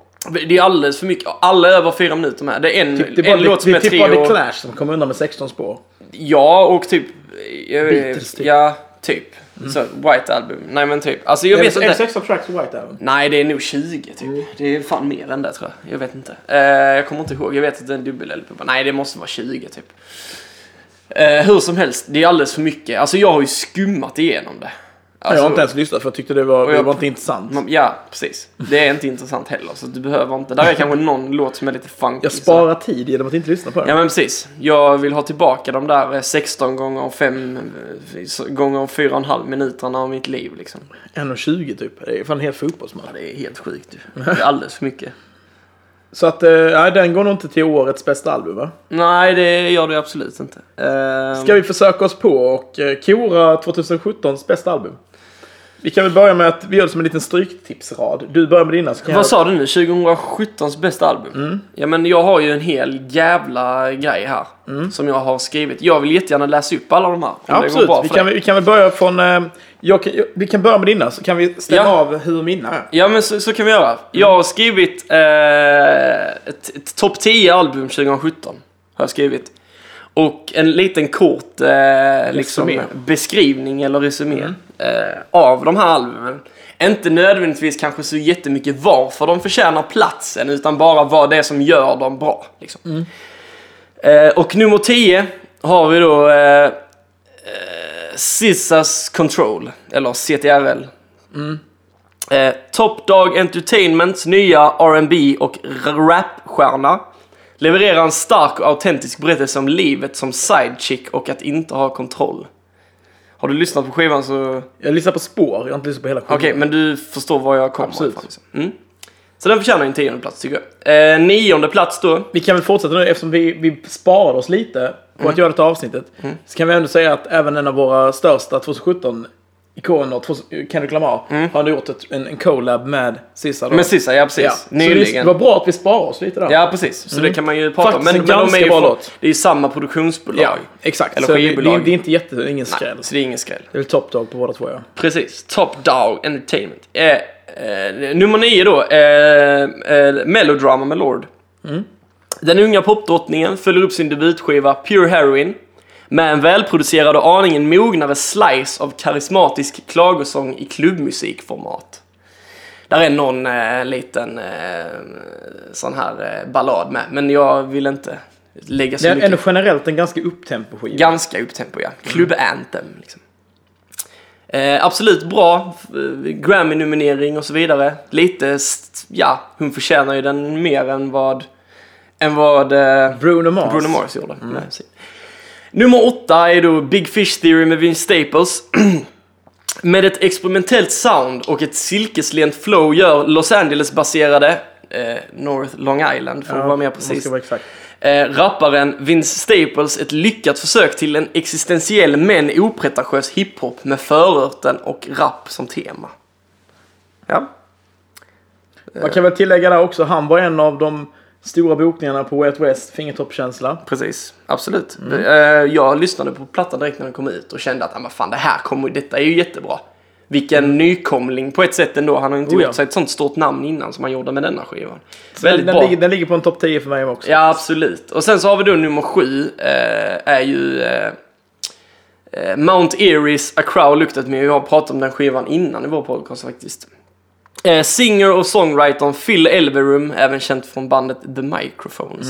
B: Det är alldeles för mycket. Alla är över fyra minuter med. Det är en,
A: Typ, det är bara,
B: en låt som
A: det,
B: är
A: det, typ
B: tre
A: bara The
B: och...
A: Clash som kom undan med 16 spår.
B: Ja, och typ... Jag,
A: Beatles, typ. Mm.
B: Ja, typ. Så, White Album. Nej, men typ. Alltså, jag vet
A: Är det
B: inte.
A: 16 tracks på White Album?
B: Nej, det är nog 20 typ.
A: Mm.
B: Det är fan mer än det tror jag. Jag vet inte. Eh, jag kommer inte ihåg. Jag vet att det är en dubbel-LP. bara, Nej, det måste vara 20 typ. Eh, hur som helst, det är alldeles för mycket. Alltså jag har ju skummat igenom det. Alltså,
A: jag har inte ens lyssnat för jag tyckte det var, det
B: jag-
A: var inte intressant.
B: man- Ja, precis. Det är inte intressant heller, så du behöver inte. Där är kanske någon låt som är lite funky.
A: Jag
B: så-
A: sparar tid genom att inte lyssna på det.
B: Ja men precis. Jag vill ha tillbaka de där eh, 16 gånger 5 gånger 4,5 minuterna av mitt liv liksom.
A: 1,20 typ. Det är fan en hel fotbollsmatch.
B: Ja, det är helt sjukt. Det är alldeles för mycket.
A: Så att, eh, nej, den går nog inte till årets bästa album va?
B: Nej, det gör det absolut inte. Ehm,
A: Ska vi försöka oss på och eh, kora 2017s bästa album? Vi kan väl börja med att vi gör det som en liten stryktipsrad. Du börjar med dina så kan
B: Vad sa du nu? 2017s bästa album?
A: Mm.
B: Ja, men jag har ju en hel jävla grej här. Som jag har skrivit. Jag vill jättegärna läsa upp alla de här. om det
A: Mm. Ja,
B: går
A: absolut.
B: bra
A: Vi
B: för
A: kan,
B: dig.
A: väl- vi kan väl börja från... eh, Jag kan, jag, vi kan börja med dina så kan vi stämma
B: Ja.
A: av hur mina är.
B: Ja, men så, så kan vi göra. Jag har skrivit eh, ett, ett topp 10 album 2017. Har jag skrivit. Och en liten kort eh, liksom,
A: Resumé.
B: beskrivning eller resumé eh, av de här albumen. Inte nödvändigtvis kanske så jättemycket varför de förtjänar platsen utan bara vad det är som gör dem bra. Liksom. Eh, och nummer 10 har vi då eh, eh, SZA's Control, eller CTRL. Eh, Top Dog Entertainments nya R&B och r- rapstjärna levererar en stark och autentisk berättelse om livet som sidechick och att inte ha kontroll. Har du lyssnat på skivan så...
A: Jag lyssnar på spår, jag har inte lyssnat på hela skivan.
B: Okej, men du förstår var jag kommer
A: Absolut.
B: ifrån. Liksom. Mm. Så den förtjänar en tionde plats tycker jag. Eh, nionde plats då.
A: Vi kan väl fortsätta nu eftersom vi, vi sparar oss lite på
B: Mm.
A: att göra detta avsnittet. Så kan vi ändå säga att även en av våra största 2017-ikoner, 2000 Kendrick Lamar,
B: Mm.
A: har nu gjort ett, en, en collab med SZA. då.
B: Men sista, ja
A: ja.
B: precis.
A: Så det
B: Nyligen.
A: det var bra att vi sparar oss lite där.
B: Ja, precis. Så det kan man ju prata om.
A: Faktiskt
B: Men,
A: en
B: men de
A: ganska
B: är ju
A: bra
B: från,
A: låt.
B: Det är ju samma produktionsbolag.
A: Ja, exakt.
B: Eller
A: så det, det,
B: skivbolag.
A: är- det är inte jätte, det är ingen skräll.
B: Så det är ingen skräll.
A: Det är väl top dog på båda två ja.
B: Precis. Top Dog Entertainment. Eh, eh, nummer nio då. Eh, eh, Melodrama med Lord.
A: Mm.
B: Den unga popdrottningen följer upp sin debutskiva Pure Heroin med en välproducerad och aningen mognare slice av karismatisk klagosång i klubbmusikformat. Där är någon eh, liten eh, sån här eh, ballad med, men jag vill inte lägga så
A: Det är
B: mycket
A: ändå generellt en ganska upptempo skiva.
B: Ganska upptempo,
A: Mm.
B: ja. Club Anthem, liksom. Eh, absolut bra. f- eh, Grammy-nominering och så vidare. Lite, st- ja, hon förtjänar ju den mer än vad, än vad eh,
A: Bruno Mars. Mm.
B: Bruno Mars gjorde. Nej, precis. Nummer åtta är då Big Fish Theory med Vince Staples. med ett experimentellt sound och ett silkeslent flow gör Los Angeles-baserade eh, North Long Island, för att vara mer
A: om man
B: precis,
A: Ska vara exakt.
B: Eh, rapparen Vince Staples ett lyckat försök till en existentiell men opretentiös hiphop med förorten och rap som tema. Ja. Eh.
A: Man kan väl tillägga där också, han var en av de stora bokningarna på Way Out West, Fingertoppkänsla.
B: Precis, absolut.
A: Mm.
B: Eh, Jag lyssnade på plattan direkt när den kom ut och kände att "Ah, men fan, det här kommer, detta är ju jättebra. Vilken nykomling på ett sätt ändå. Han har ju inte
A: Mm. Oh,
B: gjort
A: ja.
B: sig ett sånt stort namn innan som han gjorde med denna skivan.
A: Den, den, ligger, den ligger på en topp 10 för mig också.
B: Ja, absolut. Och sen så har vi då nummer sju, eh, är ju eh, eh, Mount Erie's A Crow Looked At Me. Jag har pratat om den skivan innan i vår podcast faktiskt. Eh, singer och songwritern Phil Elverum, även känd från bandet The Microphones.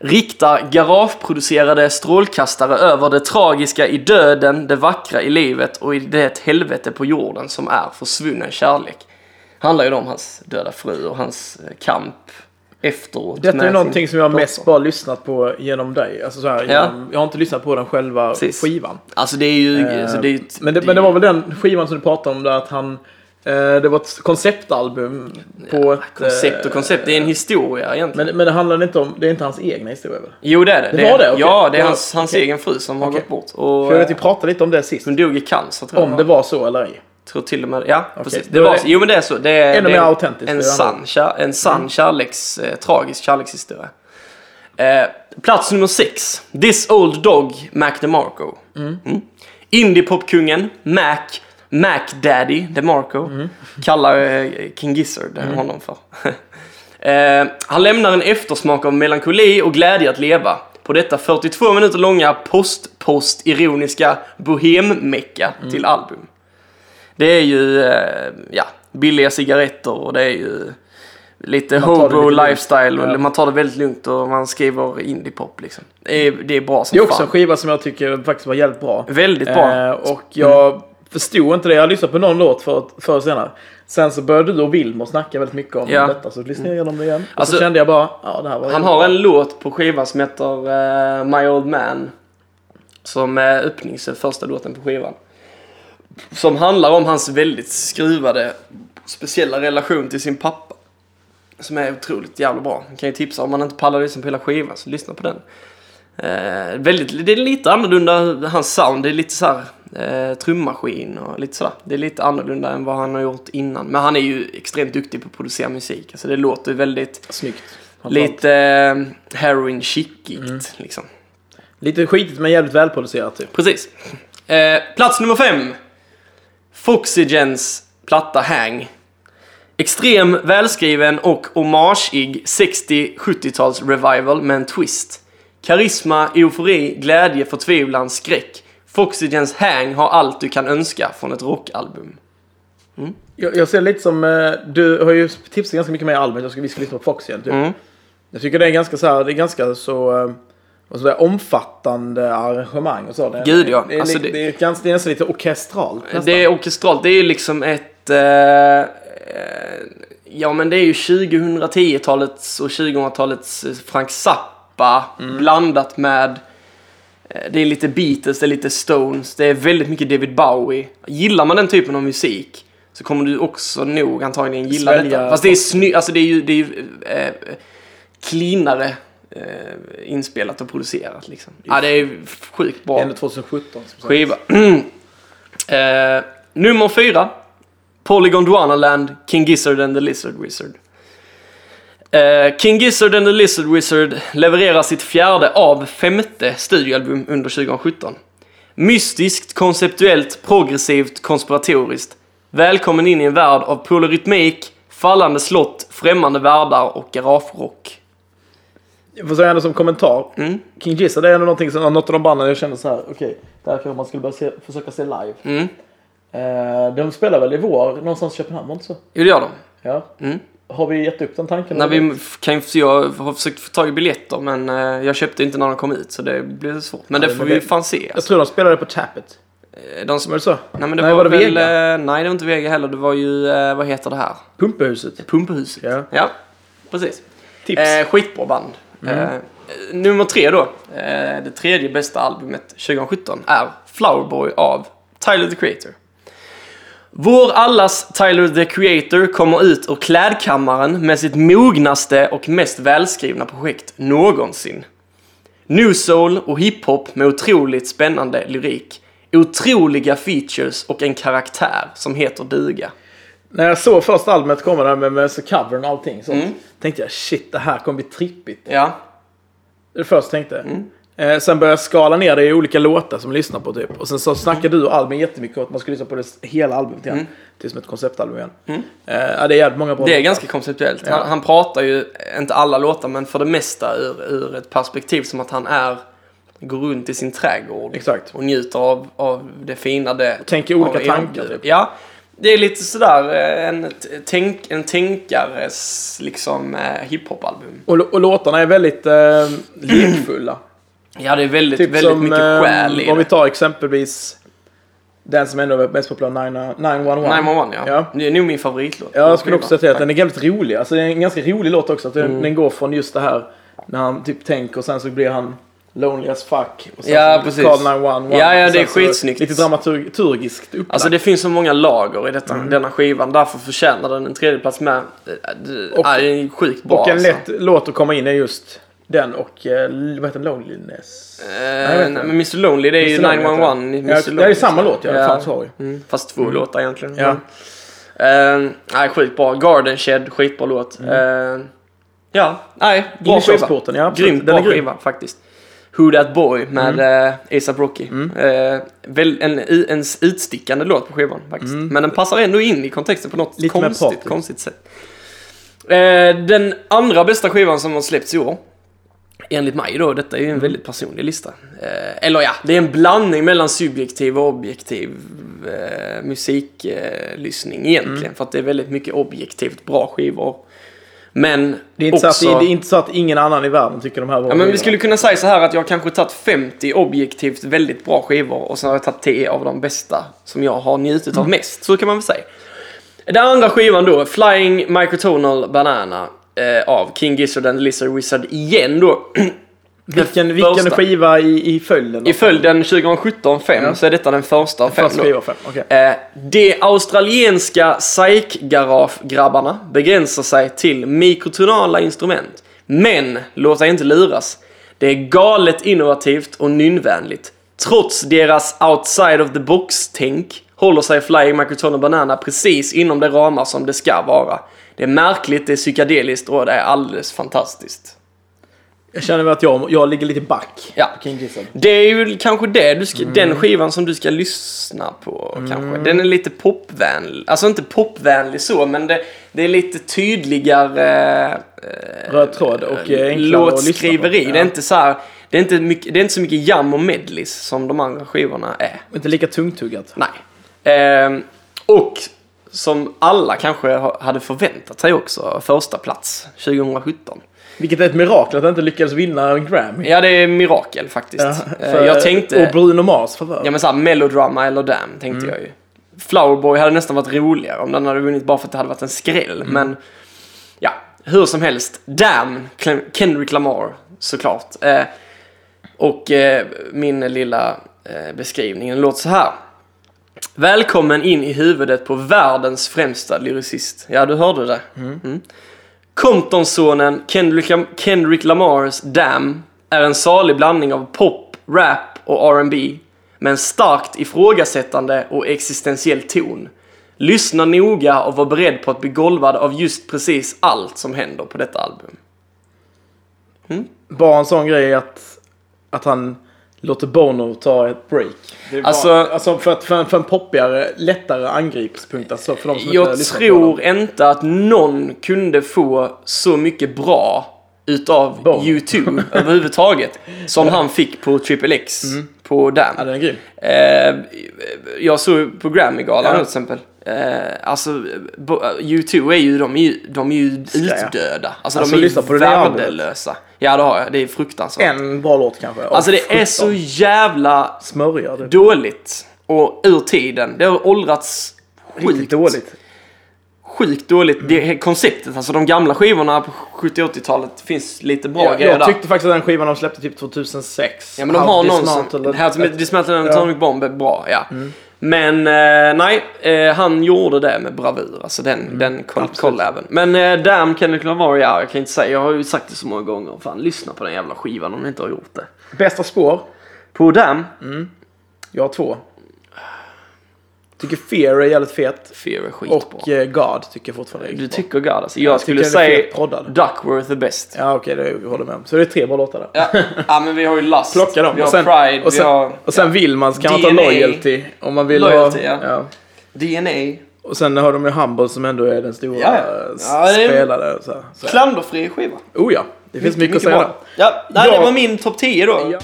B: Riktar garageproducerade strålkastare över det tragiska i döden, det vackra i livet och i det helvete på jorden som är försvunnen kärlek. Handlar ju då om hans döda fru och hans eh, kamp efteråt.
A: Detta
B: med
A: är
B: sin
A: någonting som jag
B: dotter.
A: mest bara lyssnat på genom dig. Alltså så här, genom, jag har inte lyssnat på den själva
B: Precis.
A: skivan.
B: Alltså det är ju... alltså, det är ju ett-
A: Eh, men, det, men det var väl den skivan som du pratade om där att han... Eh, det var ett konceptalbum på ett... eh,
B: Koncept och koncept, det är en historia egentligen.
A: Men, men det handlar inte om... Det är inte hans egna historia väl?
B: jo det är det.
A: Det var det? Okej.
B: Ja, det är
A: Ja,
B: hans, hans
A: okej.
B: egen fru som har
A: Okej.
B: gått bort. Och,
A: För jag vet vi pratade lite om det sist.
B: hon dog i cancer tror jag.
A: Om det var så eller ej.
B: Tror till och med Ja, precis. Det
A: Då är
B: var,
A: det-
B: så. jo men det är så. Det är,
A: Ännu
B: det är
A: mer
B: en-
A: autentiskt,
B: En
A: det är
B: sann, kär, en sann kärleks, eh, tragisk kärlekshistoria. Eh, plats nummer sex. This Old Dog, Mac DeMarco. Mm. Indiepopkungen, Mac, Mac Daddy DeMarco, kallar eh, King Gizzard honom för. eh, han lämnar en eftersmak av melankoli och glädje att leva på detta 42 minuter långa post-post-ironiska bohem-mecka till album. Det är ju, eh, ja, billiga cigaretter och det är ju lite
A: tar det lite
B: hobo
A: lugnt.
B: lifestyle och
A: Ja.
B: man tar det väldigt lugnt och man skriver indiepop liksom. Det är, det är bra som
A: Det är också
B: fan.
A: en skiva som jag tycker faktiskt var jävligt bra.
B: Väldigt bra.
A: Eh, och jag förstod inte det. Jag lyssnade på någon låt för, förr och senare. Sen så började du och Wilmer snacka väldigt mycket om
B: Ja.
A: detta. Så lyssnade jag igenom det igen. Och
B: Alltså-
A: så kände jag bara, ja det här var
B: Han har en låt på skivan som heter eh, My Old Man. Som är öppnings första låten på skivan. Som handlar om hans väldigt skruvade speciella relation till sin pappa. Som är otroligt jävla bra. Jag kan ju tipsa om man inte pallar lyssna på hela skivan så lyssna på den. Eh, väldigt, det är lite annorlunda hans sound. Det är lite så här eh, trummaskin och lite sådär. Det är lite annorlunda än vad han har gjort innan. Men han är ju extremt duktig på att producera musik. Alltså det låter ju väldigt
A: snyggt.
B: Lite eh, heroin chickigt liksom.
A: Lite skitigt men jävligt välproducerat typ.
B: Precis. Eh, plats nummer fem. Foxygens platta Hang. Extrem, välskriven och hommageig 60-70-tals revival med en twist. Karisma, eufori, glädje, förtvivlan, skräck. Foxygens Hang har allt du kan önska från ett rockalbum.
A: Jag, jag ser lite som, eh, du har ju tipsat ganska mycket med albumet. Jag ska, vi ska lyssna på Fox igen typ.
B: Mm.
A: Jag tycker det är ganska så här, det är ganska så... eh, vad ska jag säga, omfattande arrangemang och så. Det,
B: Gud, ja.
A: Det är,
B: Alltså,
A: li-
B: det- Eh,
A: det, är, ganska, det är nästan lite orkestralt. nästan.
B: Det är orkestralt. Det är liksom ett... Eh, Ja, men det är ju 2010-talets och 2000-talets eh, Frank Zappa
A: Mm.
B: blandat med eh, det är lite Beatles, det är lite Stones, det är väldigt mycket David Bowie. Gillar man den typen av musik så kommer du också nog antagligen gilla
A: Svälja-
B: detta. Fast det är, sny- alltså det är ju, det är ju eh, eh, cleanare eh, inspelat och producerat liksom. Ja, det är sjukt bra
A: Ändå 2017 som sagt.
B: skiva. eh, nummer fyra. Polygon Duanaland, King Gizzard and the Lizard Wizard. Eh, King Gizzard and the Lizard Wizard levererar sitt fjärde av femte studioalbum under 2017. Mystiskt, konceptuellt, progressivt, konspiratoriskt. Välkommen in i en värld av polyrytmik, fallande slott, främmande världar och garagerock.
A: Jag får säga ändå som kommentar.
B: Mm.
A: King Gizzard det är ändå någonting som, något av de banden jag kände så här, okej, det här kanske man skulle börja se, försöka se live.
B: Mm.
A: Eh, de spelar väl i vår, någonstans i Köpenhamn, var det inte så?
B: Jo, det gör de.
A: Ja.
B: Mm.
A: Har vi gett upp den tanken?
B: När vi kan, ju- jag har försökt få tag i biljetter men eh, jag köpte inte när de kom ut så det blev svårt. Men det
A: Nej,
B: får
A: men
B: vi
A: det-
B: fan se.
A: Jag tror de spelade på Tappet.
B: Eh, De
A: Var
B: som,
A: det så?
B: nej men det
A: Nej,
B: var,
A: var det
B: väl...
A: Vega?
B: eh, Nej det var inte Vega heller. Det var ju, eh, vad heter det här?
A: Pumpahuset.
B: Pumpahuset.
A: Ja.
B: ja precis.
A: Tips.
B: Eh, skitbra band. Eh, eh, nummer tre då. Eh, det tredje bästa albumet 2017 är Flowerboy av Tyler the Creator. Vår allas Tyler the Creator kommer ut ur klädkammaren med sitt mognaste och mest välskrivna projekt någonsin. New soul och hiphop med otroligt spännande lyrik, otroliga features och en karaktär som heter duga.
A: När jag såg första albumet komma där med, med så covern och allting sånt.
B: Mm.
A: Tänkte jag shit det här kommer bli trippigt.
B: Ja,
A: Det är det första jag tänkte.
B: Mm.
A: Eh, sen började jag skala ner det i olika låtar som jag lyssnar på typ. Och sen så snackade du och Albin jättemycket om att man skulle lyssna på det hela albumet igen. Till som ett konceptalbum igen. Eh, ja, det är jävligt många bra
B: Mm. Det är
A: låtar.
B: ganska konceptuellt. Han, han pratar ju, inte alla låtar, men för det mesta ur, ur ett perspektiv som att han är, går runt i sin trädgård
A: Exakt.
B: och njuter av, av det fina det.
A: Tänker olika
B: av
A: tankar,
B: erbjudet.
A: typ.
B: Ja, det är lite sådär eh, en, t- tänk, en tänkares liksom eh, hiphop-album.
A: Och, och låtarna är väldigt eh, lekfulla.
B: Ja, det är väldigt,
A: Typ
B: väldigt
A: som,
B: mycket
A: eh,
B: själ i
A: Om vi
B: det.
A: tar exempelvis den som ändå är mest populär, 911. 911.
B: 911 ja.
A: Ja.
B: Det är nog min favoritlåt.
A: Ja, jag skulle också säga till att den är jävligt rolig. Alltså det är en ganska rolig låt också. Att den,
B: Mm.
A: den går från just det här när han typ tänker och sen så blir han lonely as fuck. Och sen
B: Ja,
A: så
B: precis.
A: Call 911.
B: Ja, ja,
A: Och
B: det är
A: sen så
B: skitsnyggt.
A: Lite dramaturgiskt upplagt.
B: Alltså det finns så många lager i detta,
A: Mm.
B: denna skivan, därför förtjänar den en tredjeplats med. Och,
A: Och-
B: ja, det är sjukt bra
A: och en
B: alltså.
A: lätt låt att komma in är just den och eh, vad heter den? Loneliness.
B: Eh,
A: jag vet
B: nej,
A: inte.
B: men Mr Lonely, det är ju
A: Mr. Lonely
B: 911.
A: heter den.
B: Mr.
A: Ja,
B: Lonely.
A: det är ju samma låt ja.
B: Ja.
A: Fan sorry.
B: Mm, fast två låtar egentligen.
A: Ja.
B: Eh, nej, skitbra. Garden Shed, skitbra låt.
A: Mm.
B: Eh, ja, nej,
A: In
B: bra
A: i
B: skiva.
A: köksporten, ja. absolut.
B: Grymt bra
A: Den är grym. Mm.
B: skiva faktiskt. Who That Boy med eh, ASAP Rocky. Eh, väl, en, i- en utstickande låt på skivan faktiskt. Men den passar ändå in i kontexten på något
A: Mm. Lite mer
B: konstigt,
A: party.
B: konstigt sätt. Eh, den andra bästa skivan som har släppts i år. Enligt mig då, detta är
A: Mm.
B: ju en väldigt personlig lista. Eh, eller ja, det är en blandning mellan subjektiv och objektiv eh, musiklyssning eh, lyssning egentligen.
A: Mm.
B: För att det är väldigt mycket objektivt bra skivor. Men
A: Det är, inte
B: också...
A: så att, det är inte så att ingen annan i världen tycker de här var
B: Ja, men vi skulle kunna säga så här att jag kanske tagit 50 objektivt väldigt bra skivor och sen har jag tagit 10 av de bästa som jag har njutit av mest. Så kan man väl säga. Den andra skivan då, Flying Microtonal Banana eh, av King Gizzard and the Lizard Wizard igen då.
A: Vilken, vilken
B: Första.
A: skiva i, i följden?
B: I följden 2017-5
A: Ja.
B: så är detta den första av fem
A: Först
B: då.
A: skiva fem, okej.
B: Eh, de australienska psykgarage-grabbarna begränsar sig till mikrotonala instrument. Men låt dig inte luras. Det är galet innovativt och nynnvänligt. Trots deras outside of the box-tänk håller sig Flying Microtonal Banana precis inom de ramar som det ska vara. Det är märkligt, det är psykedeliskt och det är alldeles fantastiskt.
A: Jag känner väl att jag, jag ligger lite back.
B: Ja.
A: på King Gizzard.
B: Det är ju kanske det du
A: Mm.
B: ska, den skivan som du ska lyssna på kanske. Den är lite popvänlig. Alltså inte popvänlig så, men det, det är lite tydligare eh,
A: Röd tråd och eh, enklare att lyssna på.
B: låtskriveri.
A: Ja.
B: Det är inte så här, det är inte, mycket, det är inte så mycket jam och medleys som de andra skivorna är.
A: Inte lika tungtuggat.
B: Nej. Ehm, och som alla kanske ha- hade förväntat sig också, första plats 2017.
A: Vilket är ett mirakel att han inte lyckades vinna en Grammy.
B: Ja, det är mirakel faktiskt. Eh,
A: för-
B: jag tänkte...
A: Och Bruno Mars favör.
B: Ja men såhär melodrama eller damn tänkte jag ju. Flowerboy hade nästan varit roligare om den hade vunnit bara för att det hade varit en skräll. Men Hur som helst, damn Cle- Kendrick Lamar såklart. Eh, och eh, min lilla eh, beskrivning den låter så här. Välkommen in i huvudet på världens främsta lyricist. Ja, du hörde det. Mm. Comptonsonen Kendrick, Lam- Kendrick Lamars Damn är en salig blandning av pop, rap och R&B med en starkt ifrågasättande och existentiell ton. Lyssna noga och var beredd på att bli golvad av just precis allt som händer på detta album.
A: Bara en sån grej att, att han låter Bono ta ett break. Det är bara,
B: Alltså-
A: alltså, för, att, för, en, för en poppigare, lättare angreppspunkt. Alltså för de som inte
B: Jag
A: lyssnar
B: tror inte att någon kunde få så mycket bra utav
A: Bono.
B: U2 överhuvudtaget som han fick på Triple X
A: Mm.
B: på Damn.
A: Ja, den är grym.
B: Eh, jag såg på Grammy-galan
A: Ja.
B: till exempel. Eh, alltså, bo- U2 är ju, de är ju, de är ju
A: jag?
B: utdöda. Alltså,
A: Alltså,
B: de är
A: lyssna på
B: ju
A: det där albumet.
B: värdelösa. Ja, det har jag. Det är fruktansvärt.
A: En bra låt kanske.
B: Alltså,
A: Och
B: det är så
A: sjutton
B: jävla
A: Smörja det.
B: dåligt och ur tiden. Det har åldrats
A: Riktigt
B: sjukt
A: dåligt.
B: Sjukt dåligt. Det konceptet, alltså de gamla skivorna på 70-80-talet finns lite bra
A: Jag,
B: grejer
A: jag
B: där.
A: tyckte faktiskt att den skivan de släppte typ 2006.
B: Ja men de har någon som...
A: Dismantled-
B: Här som Dismantled and
A: Ja. Mm.
B: Atomic Bomb är bra, ja. Men eh, nej, eh, han gjorde det med bravur. Alltså den,
A: Mm,
B: den koll- collaben. Men eh, Damn Kendrick Lamar, ja, jag kan inte säga. Jag har ju sagt det så många gånger. Fan, lyssna på den jävla skivan om ni inte har gjort det.
A: Bästa spår?
B: På Damn,
A: Mm. Jag har två. Tycker Fear är jävligt fet.
B: Fear är skitbra.
A: Och eh, God tycker jag fortfarande är
B: du
A: riktigt bra.
B: tycker God alltså. Jag, skulle
A: tycker den är fet
B: säga
A: proddad.
B: Duckworth är bäst.
A: Ja okej, det vi håller med om. Så det är tre bra låtar där.
B: Ja. ja, men vi har ju Lust.
A: Plocka dem.
B: Vi har
A: och sen,
B: Pride,
A: och sen,
B: vi har
A: och sen vill man så kan man ta
B: DNA.
A: Loyalty. Om man vill
B: Loyalty,
A: ha,
B: ja. DNA.
A: Och sen har de ju Humble som ändå är den stora
B: Ja, ja.
A: eh, s-
B: Ja, det är-
A: spelaren. Så, så.
B: Klanderfri skiva.
A: Oh ja, det finns mycket, att säga där.
B: bra. Ja, nej,
A: Ja.
B: det var min topp 10 då.
A: Ja.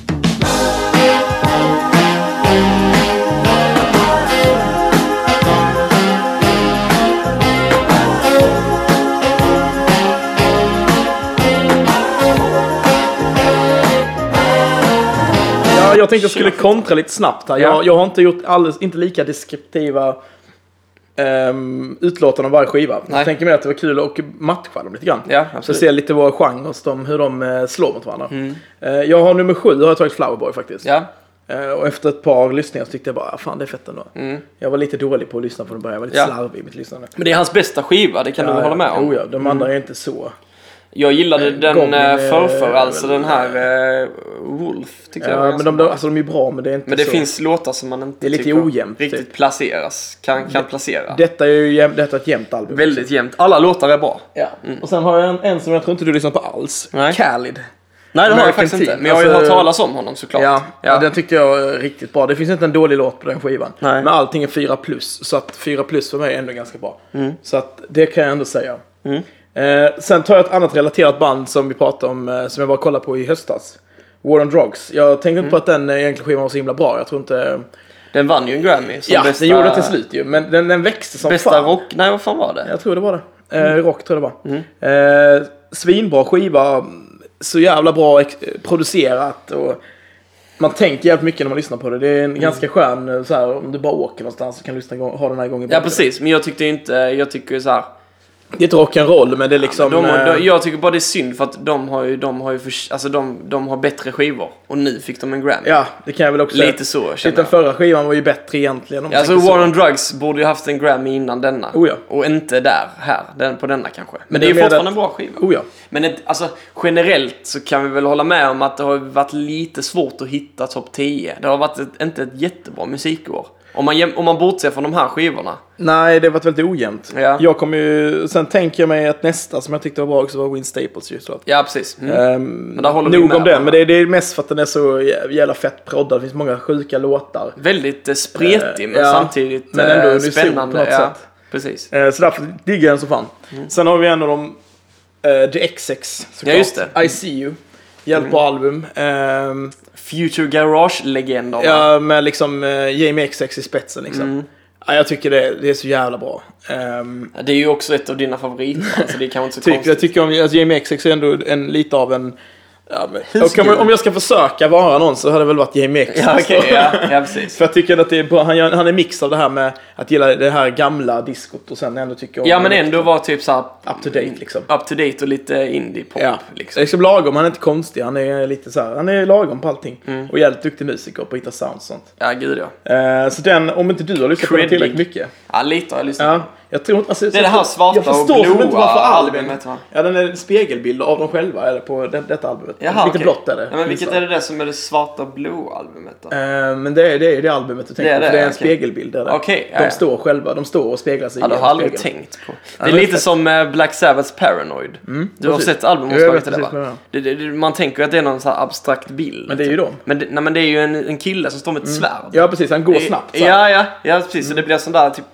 A: Ja, jag tänkte jag skulle kontra lite snabbt här.
B: Ja.
A: Jag, jag har inte gjort alldeles, inte lika deskriptiva um, utlåtanden om varje skiva.
B: Nej.
A: Jag tänker mer att det var kul att matcha dem lite grann.
B: Ja,
A: Så
B: absolut. Mm.
A: se lite våra genrer, de, hur de eh, slår mot varandra. Eh, jag har nummer sju, har jag tagit Flowerboy faktiskt.
B: Ja.
A: Eh, och efter ett par lyssningar så tyckte jag bara, "Ah, fan det är fett ändå. Jag var lite dålig på att lyssna från början, jag var lite
B: Mm. Ja.
A: slarvig i mitt lyssnande.
B: Men det är hans bästa skiva, det kan du väl hålla med om? Mm.
A: Jo, ja, de andra är inte så.
B: Jag gillade
A: Eh,
B: den
A: Goblin
B: Goblin,
A: är-
B: förrför, alltså
A: väl-
B: den här eh, Wolf. Tyckte jag var
A: Ja, men
B: ganska
A: de,
B: bra.
A: de, alltså, de är ju bra, men det är inte
B: men det
A: så.
B: finns låtar som man inte
A: Det är lite
B: tycker
A: ojämnt,
B: riktigt
A: typ.
B: placeras. Kan, kan placera.
A: Detta är ju jäm, detta är ett jämnt album.
B: Väldigt jämnt. Alla låtar är bra.
A: Ja. Och sen har jag en, en som jag tror inte du lyssnar på alls.
B: Mm. Nej.
A: Khalid.
B: Nej, det har jag
A: American
B: faktiskt inte.
A: Teen.
B: Men jag har ju
A: Alltså-
B: hört talas om honom såklart.
A: Ja, ja. den tyckte jag är riktigt bra. Det finns inte en dålig låt på den skivan.
B: Nej.
A: Men allting är 4 plus, så att 4 plus för mig är ändå ganska bra.
B: Mm.
A: Så att det kan jag ändå säga. Eh, sen tar jag ett annat relaterat band som vi pratade om, eh, som jag bara kollade på i höstas. War on Drugs. Jag tänkte inte
B: Mm.
A: på att den eh, egentligen skivan var så himla bra. Jag tror inte...
B: Den vann ju en Grammy som
A: ja,
B: bästa,
A: den gjorde det till slut ju. Men den, den växte som
B: bästa
A: fan.
B: rock... Nej, vad fan var det?
A: Jag tror det var det. Eh,
B: Mm.
A: Rock tror jag det var. Eh, svinbra skiva. Så jävla bra ex- producerat. Och man tänker jävligt mycket när man lyssnar på det. Det är en
B: Mm.
A: ganska skön, eh, så här, om du bara åker någonstans så kan du lyssna, gång- ha den här gången.
B: Ja, precis. Men jag tyckte ju inte... Jag tycker ju så här...
A: Det är inte rock'n'roll, men det är liksom...
B: De, har-
A: eh,
B: de, jag tycker bara det är synd för att de har ju, de har ju förs- alltså de, de har bättre skivor och nu fick de en Grammy.
A: ja, det kan jag väl också säga.
B: Lite så
A: Shit,
B: känner
A: den
B: jag.
A: förra skivan var ju bättre egentligen. Om man
B: Alltså
A: tänker så.
B: War on Drugs borde ju haft en Grammy innan denna.
A: Oh ja.
B: Och inte där, här, den, på denna kanske. Men, det
A: jag
B: är ju
A: menar
B: fortfarande
A: att-
B: en bra skiva.
A: Oh ja.
B: Men ett, alltså, generellt så kan vi väl hålla med om att det har varit lite svårt att hitta topp 10. Det har varit ett, inte ett jättebra musikår. Om man, jäm- om man bortser från de här skivorna.
A: Nej, det har varit väldigt ojämnt.
B: Ja.
A: Jag kommer ju, sen tänker jag mig att nästa som jag tyckte var bra också var Win Staples ju såklart.
B: Ja, precis. Mm.
A: Um,
B: Men där håller vi
A: nog
B: med
A: om den,
B: varandra.
A: men det är, det är mest för att den är så jä- jävla fett proddad. Det finns många sjuka låtar.
B: Väldigt eh, spretig men
A: Eh, ja.
B: samtidigt
A: Men ändå
B: eh,
A: unison på
B: spännande.
A: något
B: ja.
A: sätt.
B: Precis.
A: Eh, så därför diggar jag den så fan. Sen har vi en av dem, eh, The XX såklart.
B: Mm. Ja, just det. Mm.
A: I See You. Jävligt bra album. Ehm,
B: Future Garage-legenderna.
A: ja, med liksom eh, Jamie XX i spetsen liksom.
B: Mm.
A: Ja, jag tycker det, det är så jävla bra. Ehm,
B: Det är ju också ett av dina favoriter, så det är kanske inte så
A: Typ, jag
B: konstigt.
A: tycker om, alltså Jamie XX är ändå en, lite av en Ja, men, och om, jag- om jag ska försöka vara någon så hade det väl varit Jamie X.
B: Ja, okej,
A: alltså.
B: ja, ja, precis.
A: För jag tycker att det är bra. Han, gör, han är mix av det här med att gilla det här gamla diskot och sen ändå tycker om
B: Ja, men ändå vara typ såhär
A: Up to date, liksom.
B: Up to date och lite indie-pop.
A: Ja, liksom.
B: Liksom.
A: liksom lagom. Han är inte konstig. Han är lite så här, han är lagom på allting.
B: Mm.
A: Och jävligt duktig musiker på att hitta sound och sånt.
B: ja, gud ja.
A: Eh, så den, om inte du har lyssnat på den
B: Creddig.
A: tillräckligt mycket.
B: Ja, lite har jag lyssnat
A: Ja, jag tror inte, alltså,
B: Det är det här svarta
A: Jag förstår
B: och
A: som inte
B: blåa
A: varför albumet.
B: albumet, va?
A: Ja, den är en spegelbild av dem själva eller på det, detta albumet.
B: Jaha,
A: lite
B: okej.
A: blått är det.
B: Ja, men vilket
A: minsann.
B: är det där som är det svarta och blå albumet då?
A: Eh, Men det är, det är ju det albumet du tänker
B: är
A: på,
B: det,
A: för det är en
B: okej.
A: spegelbild. Där.
B: Okej, ja,
A: de
B: ja.
A: står själva, de står och speglar sig
B: Ja, det
A: i en
B: har jag aldrig
A: spegel.
B: tänkt på.
A: Ja,
B: Det är
A: det är
B: lite
A: fett.
B: som eh, Black Sabbaths Paranoid. du har
A: precis.
B: sett
A: Ja, jag vet
B: albumomslaget till det,
A: precis vad
B: va? Det, det, det, man tänker ju att det är någon så här abstrakt bild.
A: Men det är ju dem.
B: Men det, nej, men det är ju en, en kille som står med ett svärd.
A: Ja, precis. Han går
B: Det-
A: snabbt. så här. Mm.
B: Ja, ja, ja precis. Så det blir sån där typ...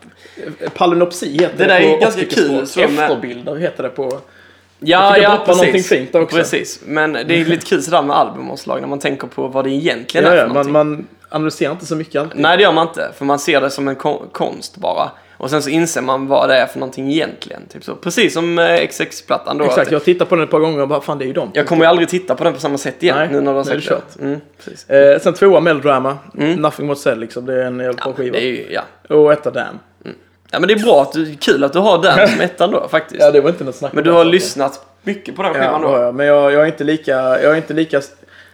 A: Palinopsi heter det,
B: Det där
A: på
B: är ju ganska
A: optikerspråk.
B: kul, så med-
A: Efterbilder heter det på... Jag
B: Ja,
A: tycker
B: ja,
A: droppa någonting fint också.
B: Precis, men det är lite kul sådär med albumomslag när man tänker på vad det egentligen
A: Ja,
B: är för
A: ja, man,
B: någonting.
A: man analyserar inte så mycket alltid.
B: Nej, det gör man inte. För man ser det som en kon- konst bara. Och sen så inser man vad det är för någonting egentligen. Typ så. Precis som eh, XX-plattan då.
A: Exakt,
B: Att-
A: jag tittar på den ett par gånger och bara fan det är ju dem.
B: Jag kommer ju aldrig titta på den på samma sätt igen
A: Nej,
B: nu när du har
A: nej,
B: sagt
A: det är
B: det. Mm, precis.
A: Eh, sen tvåa Melodrama, Nothing Was Said liksom, det är en jävla bra skiva.
B: Det är ju, Mm. ja.
A: Och etta Damn.
B: ja, men det är bra att du, kul att du har den som ettan då faktiskt.
A: Ja, det var inte något snack om
B: men du
A: den
B: har
A: saken.
B: lyssnat mycket på den
A: Ja,
B: skivan
A: det
B: då.
A: har jag. Men jag, jag är inte lika, jag är inte lika,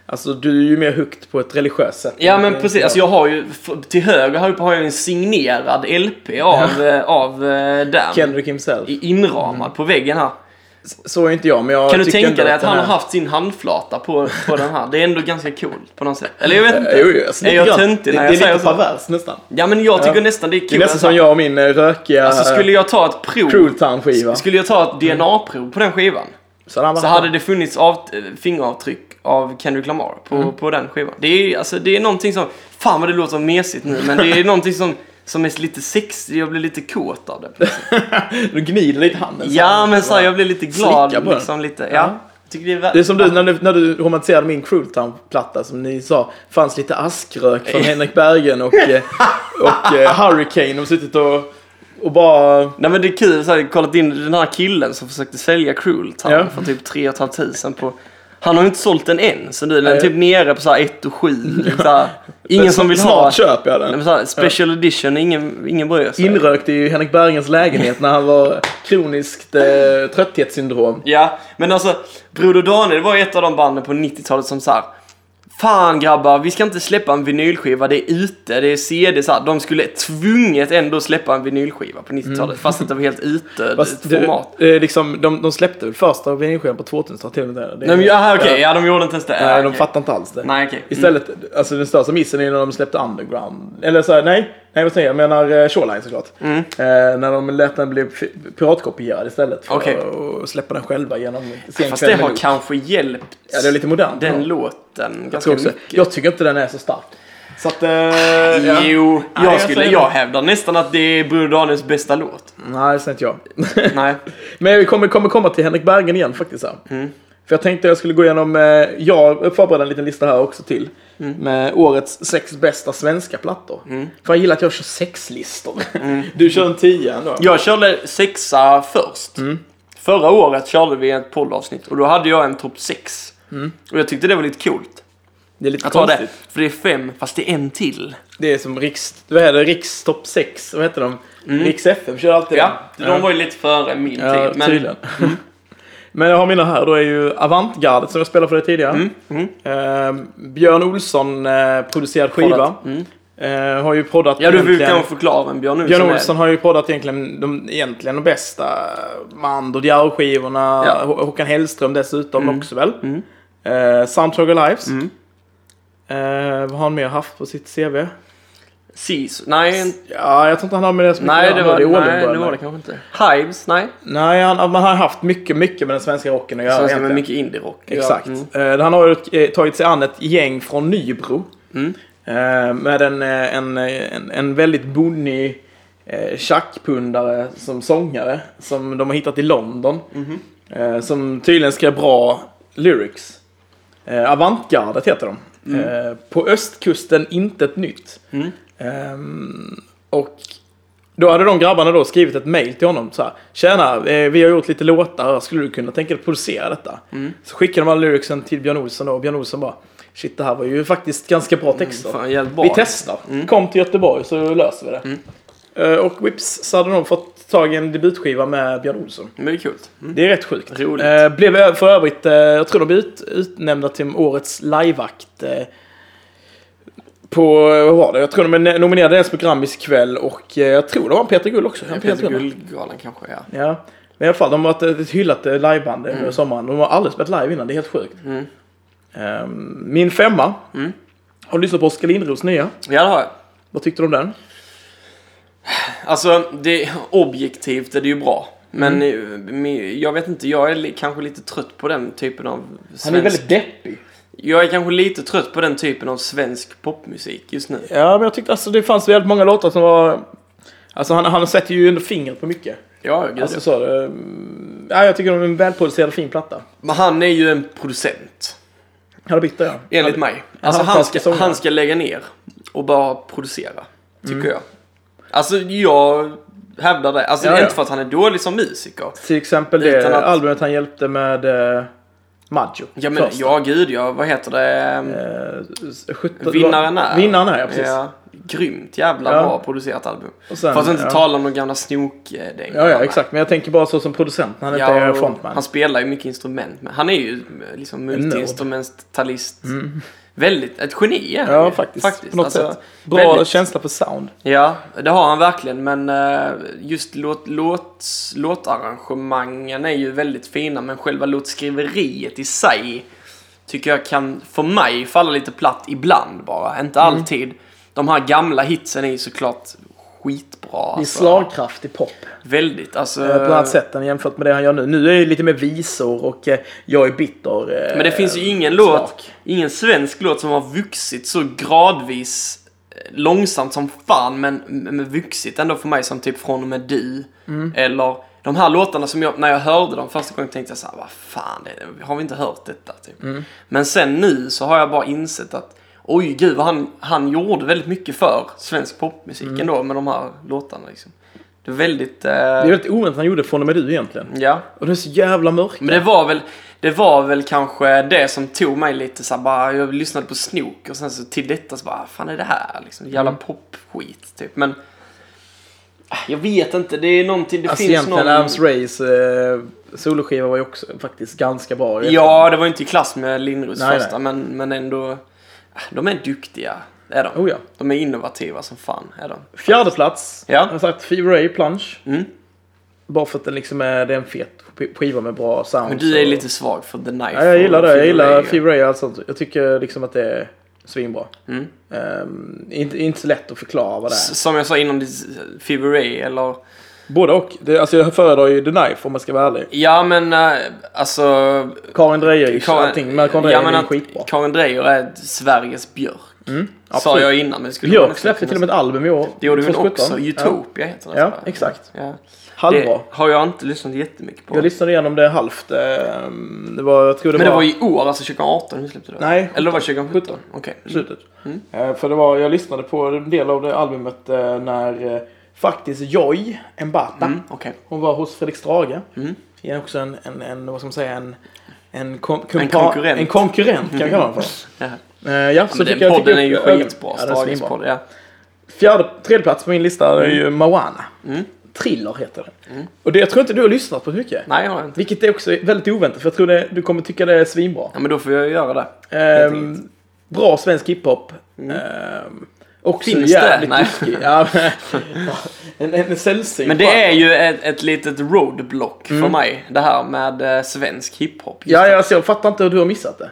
A: alltså du är ju mer hooked på ett religiöst sätt.
B: Ja men
A: Det är
B: precis,
A: inte
B: alltså jag har ju f- till höger här uppe har jag ju en signerad LP av, eh, av eh,
A: jag-
B: Damn.
A: Kendrick himself.
B: I- Inramad på väggen här.
A: Så är inte jag, men jag
B: Kan du
A: tycker
B: tänka
A: ändå
B: dig att
A: den
B: han har
A: här-
B: haft sin handflata på, på den här? Det är ändå ganska coolt på något sätt. Eller jag vet inte.
A: Jo, jo, alltså,
B: är
A: lite
B: jag
A: grann.
B: töntig
A: Det,
B: när
A: det är
B: jag säger
A: lite
B: så?
A: perverst nästan.
B: Ja men jag tycker
A: Ja.
B: nästan det är
A: Det är
B: kul.
A: nästan som jag och min eh, rökiga
B: Alltså skulle jag ta ett prov.
A: Cruel Town-skiva.
B: Skulle jag
A: Mm.
B: ta ett DNA-prov på den skivan
A: Så, han
B: så hade det funnits av, eh, fingeravtryck av Kendrick Lamar på,
A: Mm.
B: på den skivan. Det är, alltså, det är någonting som, fan vad det låter mesigt nu, men det är någonting som, som är lite sexigt, jag blir lite kåt av det.
A: Du gnider lite handen. så
B: Ja
A: här.
B: men så här, jag blir lite
A: Slicka
B: glad
A: på den.
B: liksom lite, ja.
A: Ja.
B: Jag Tycker det, är vä-
A: Det är som du, när du, när du romantiserade min Cruel Town-platta som ni sa fanns lite askrök från Henrik Bergen och, eh, och eh, Hurricane. och suttit och, och bara...
B: Nej men det är kul, så här, jag har kollat in den här killen som försökte sälja Cruel Town
A: Ja.
B: för typ 3 500 på han har ju inte sålt den än, så nu är
A: Nej.
B: den typ nere på så här 1 och 7. liksom så här. Ingen som vill
A: Snart
B: ha.
A: köper jag
B: Nej, men
A: den.
B: så här, special edition, ingen, ingen bryr sig.
A: Inrökt i Henrik Bergens lägenhet när han var kroniskt eh, trötthetssyndrom.
B: Ja, men alltså Broder Daniel var ju ett av de banden på 90-talet som så här. Fan grabbar, vi ska inte släppa en vinylskiva, det är ute, det är CD så här. De skulle tvunget ändå släppa en vinylskiva på 90-talet fast att det var helt ute
A: Mm. Fast det,
B: format.
A: eh, liksom, de, de släppte väl första vinylskivan på 2000-talet till och med. Det-
B: Nej, men, aha, okej, ja. de gjorde inte ens det.
A: Nej,
B: Ja,
A: de
B: okej.
A: fattar inte alls det.
B: Nej, okej. Mm.
A: Istället, alltså den största missen är när de släppte Underground. Eller så här, nej, nej vad säger jag? Jag menar eh, Shoreline såklart.
B: Mm.
A: Eh, när de lät den bli fi- piratkopierad istället för
B: Okej.
A: att släppa den själva genom sen
B: Fast
A: kväll
B: det
A: med
B: har
A: Luke.
B: kanske hjälpt
A: Ja, det är lite modernt.
B: den
A: ja.
B: låten
A: jag,
B: ganska
A: tror också.
B: mycket.
A: jag tycker inte den är så stark. Så att, eh, ja.
B: Jo,
A: Nej,
B: jag,
A: jag
B: skulle,
A: säger
B: jag
A: det.
B: hävdar nästan att det är Broder Daniels bästa låt.
A: Nej, det säger inte jag.
B: Nej.
A: Men vi kommer, kommer komma till Henrik Bergen igen faktiskt. Här.
B: Mm.
A: För jag tänkte jag skulle gå igenom, eh, jag förberedde en liten lista här också till.
B: Mm.
A: Med årets sex bästa svenska plattor. För jag gillar att jag kör sex listor.
B: Mm.
A: Du kör en tia ändå.
B: Jag körde sexa först.
A: Mm.
B: Förra året körde vi ett poddavsnitt och då hade jag en topp sex. Och jag tyckte det var lite coolt.
A: Det är lite
B: Jag tar
A: Mm. konstigt.
B: det, för det är fem, fast det är en till.
A: Det är som riks, vad är det, riks topp 6, vad heter de? Riks FM kör alltid
B: Mm. Ja,
A: den.
B: de var ju lite före min
A: ja,
B: tid. Men
A: tydligen. Men jag har mina här, då är ju Avantgardet som jag spelade för dig tidigare.
B: Mm,
A: Eh, Björn Olsson eh, producerad skiva. Eh, har ju proddat
B: mm. ja, du vill
A: egentligen-
B: kanske förklara vem Björn Olsson
A: Björn
B: är.
A: Olsson har ju poddat egentligen de, egentligen de bästa Mando Diao-skivorna.
B: Ja. Mm.
A: Hå- Håkan Hellström dessutom också väl. Eh, Soundtrack of Lives. Eh, vad har han mer haft på sitt CV?
B: Sis. Nej,
A: Ja, jag tror inte han har med det så mycket
B: Nej,
A: att
B: det
A: göra.
B: var,
A: är Ålenberg,
B: nej, det, var
A: men-
B: det kanske inte. Hives, nej.
A: Nej, han, man har haft mycket, mycket med den svenska rocken att göra.
B: Svenska med
A: egentligen.
B: mycket indie-rock.
A: Exakt.
B: Ja. Mm.
A: Eh, han har ju eh, tagit sig an ett gäng från Nybro.
B: Mm.
A: Eh, med en, eh, en, eh, en, en väldigt bonnig eh, tjackpundare som sångare. Som de har hittat i London.
B: Mhm.
A: Eh, som tydligen skrev bra lyrics. Eh, Avantgardet heter de.
B: Mm.
A: Eh, på östkusten intet nytt. Ehm, och Då hade de grabbarna då skrivit ett mail till honom så här. Tjena, eh, vi har gjort lite låtar. Skulle du kunna tänka dig att producera detta? Så skickade de alla lyricsen till Björn Olsson då, och Björn Olsson bara Shit, det här var ju faktiskt ganska bra texter.
B: Fan, jävligt
A: vi
B: bra.
A: testar. Kom till Göteborg så löser vi det. Eh, Och vips så hade de fått tag i en debutskiva med Björn Olsson.
B: Men det är kul. Mm.
A: Det är rätt sjukt.
B: Roligt.
A: Eh, blev ö- för övrigt, eh, jag tror de blev ut, utnämnda till årets livevakt. Eh, på, eh, vad var det? Jag tror de är ne- nominerade ens på Grammis kväll och eh, jag tror det var en Peter Gull också. En Peter
B: Peter
A: Gull.
B: Guldgalan kanske, ja.
A: Ja. Men i alla fall, de har varit ett hyllat eh, liveband under sommaren. De har aldrig spelat live innan, det är helt sjukt.
B: Mm.
A: Eh, min femma.
B: Mm.
A: Har du lyssnat på Oskar Lindros nya?
B: Ja, det har jag.
A: Vad tyckte du om den?
B: Alltså, det, objektivt är det ju bra. Men
A: Mm.
B: eh, men jag vet inte, jag är li, kanske lite trött på den typen av svensk...
A: Han är väldigt deppig.
B: Jag är kanske lite trött på den typen av svensk popmusik just nu.
A: Ja, men jag tyckte alltså det fanns väldigt många låtar som var... Alltså han, han sätter ju ändå fingret på mycket.
B: Ja, gud
A: Alltså så, eh, mm, ja, jag tycker de är en välproducerad fin platta.
B: Men han är ju en producent.
A: Här bytte jag.
B: Enligt mig. Alltså
A: har
B: han
A: fantastisk
B: ska,
A: sångare.
B: han ska lägga ner och bara producera. Tycker
A: Mm.
B: jag. Alltså jag hävdar det. Alltså
A: Ja,
B: det är
A: ja.
B: inte för att han är dålig som musiker.
A: Till exempel
B: Utan
A: det
B: att-
A: albumet han hjälpte med eh, Maggio.
B: Ja men
A: först.
B: ja gud ja, vad heter det?
A: Eh, 17
B: Vinnaren är.
A: Vinnaren är, ja precis.
B: Ja, grymt jävla
A: Ja.
B: bra producerat album.
A: Och sen,
B: för att inte
A: ja.
B: tala om de gamla snokdängorna.
A: Ja, ja, exakt. Men jag tänker bara så som producent när han inte
B: Ja,
A: är
B: och
A: frontman.
B: han spelar ju mycket instrument. Men han är ju liksom
A: nörd. Mm.
B: multiinstrumentalist. Väldigt, ett geni är han
A: Ja,
B: ju,
A: faktiskt. På något
B: Alltså,
A: sätt. Bra
B: väldigt- Alltså-
A: känsla för sound.
B: Ja, det har han verkligen. Men eh, just låt, låt, låtarrangemangen är ju väldigt fina. Men själva låtskriveriet i sig tycker jag kan, för mig, falla lite platt ibland bara. Inte
A: Mm.
B: alltid. De här gamla hitsen är ju såklart skitbra.
A: Det är
B: alltså.
A: slagkraftig pop.
B: Väldigt. Alltså,
A: eh, På ett annat sätt än jämfört med det han gör nu. Nu är det lite mer visor och eh, jag är bitter. eh,
B: Men det finns ju ingen låt,
A: smak.
B: ingen svensk låt som har vuxit så gradvis eh, långsamt som fan, men, men vuxit ändå för mig som typ Från och med du.
A: Mm.
B: Eller de här låtarna som jag, när jag hörde dem första gången tänkte jag så här, vad fan, det, har vi inte hört detta? Typ.
A: Mm.
B: Men sen nu så har jag bara insett att Oj gud vad han, han gjorde väldigt mycket för svensk popmusik ändå med de här låtarna liksom. Det var väldigt... Eh,
A: Mm. Det är väldigt oväntat att han gjorde från och med du egentligen.
B: ja.
A: Och det är så jävla mörk.
B: Men det var väl, det var väl kanske det som tog mig lite så här, bara, jag lyssnade på Snook och sen så till detta så bara, "Ah, fan är det här liksom, jävla
A: Mm.
B: popskit typ. Men ah, jag vet inte, det är någonting, det
A: Alltså
B: finns
A: egentligen
B: någon...
A: Adams Rays eh, soloskiva var ju också faktiskt ganska bra.
B: Ja, det var ju inte i klass med Lindros
A: Nej,
B: första, Men, men ändå, ah, de är duktiga, är de.
A: Oh ja.
B: De är innovativa som fan, är de.
A: Fjärde plats.
B: Ja.
A: Jag har sagt Fever Ray Plunge.
B: Mm.
A: Bara för att den liksom är, det är en fet sk- skiva med bra sound.
B: Men du är
A: så-
B: lite svag för The Knife.
A: Alltså- Ja, jag gillar
B: och
A: det. Jag
B: Fever
A: gillar
B: Ray.
A: Fever Ray och allt sånt. Jag tycker liksom att det är svinbra.
B: Mm.
A: Ehm, inte, inte så lätt att förklara vad det är.
B: S- Som jag sa innan, det är Fever Ray eller
A: Både och. Det, alltså jag föredrar ju The Knife om man ska vara ärlig.
B: Ja men eh, alltså
A: Karin Drejer,
B: Karin-
A: allting. Men Karin Drejer
B: men
A: är
B: att
A: skitbra. Mm.
B: Karin Drejer är Sveriges Björk. Sa
A: absolut.
B: jag innan men det skulle man
A: Björk
B: nästan
A: släppte
B: kunna
A: till och med
B: säga.
A: ett album i år.
B: Det gjorde hon
A: 2017.
B: också. Utopia heter den.
A: Ja,
B: tror jag.
A: exakt.
B: Ja.
A: Halvbra.
B: Det har jag inte lyssnat jättemycket på.
A: Jag lyssnade igenom det halvt. ehm, Det var, jag tror det
B: men det
A: var
B: var i år, alltså 2018 hon släppte det?
A: Nej,
B: Eller det var 2017? Okej. Mm.
A: slutet. Eh, För det var, jag lyssnade på en del av det albumet eh, när eh, faktiskt Joy Mbata,
B: Mm, Okej.
A: hon var hos Felix Strage.
B: Mm.
A: Det är också en, en, en vad ska man säga, en, en, kom,
B: En
A: kompa-
B: konkurrent.
A: En konkurrent kan jag kalla honom för.
B: Ja.
A: Eh, Ja,
B: Ja,
A: så
B: men
A: fick
B: den
A: jag, fick
B: podden
A: upp
B: är ju
A: ögonen.
B: skitbra.
A: Ja, den är
B: Stragens
A: svinbra.
B: podd, Mm. ja.
A: Fjärde, tredje plats på min lista är ju Moana. Thriller heter den. Och det jag tror inte du har lyssnat på så mycket.
B: Mm. Nej, jag har inte.
A: Vilket är också väldigt oväntat för jag tror det, du kommer tycka det är svinbra.
B: Ja, men då får jag göra det.
A: Ehm,
B: enkelt. Mm.
A: bra svensk hiphop. Ehm, också
B: Finns
A: jävligt
B: det? Nej.
A: whisky. Ja, men- en, en, en sällsynt.
B: Men det är ju ett, ett litet roadblock
A: Mm.
B: för mig, det här med eh, svensk hiphop. just
A: Ja, ja, alltså, jag fattar inte hur du har missat det.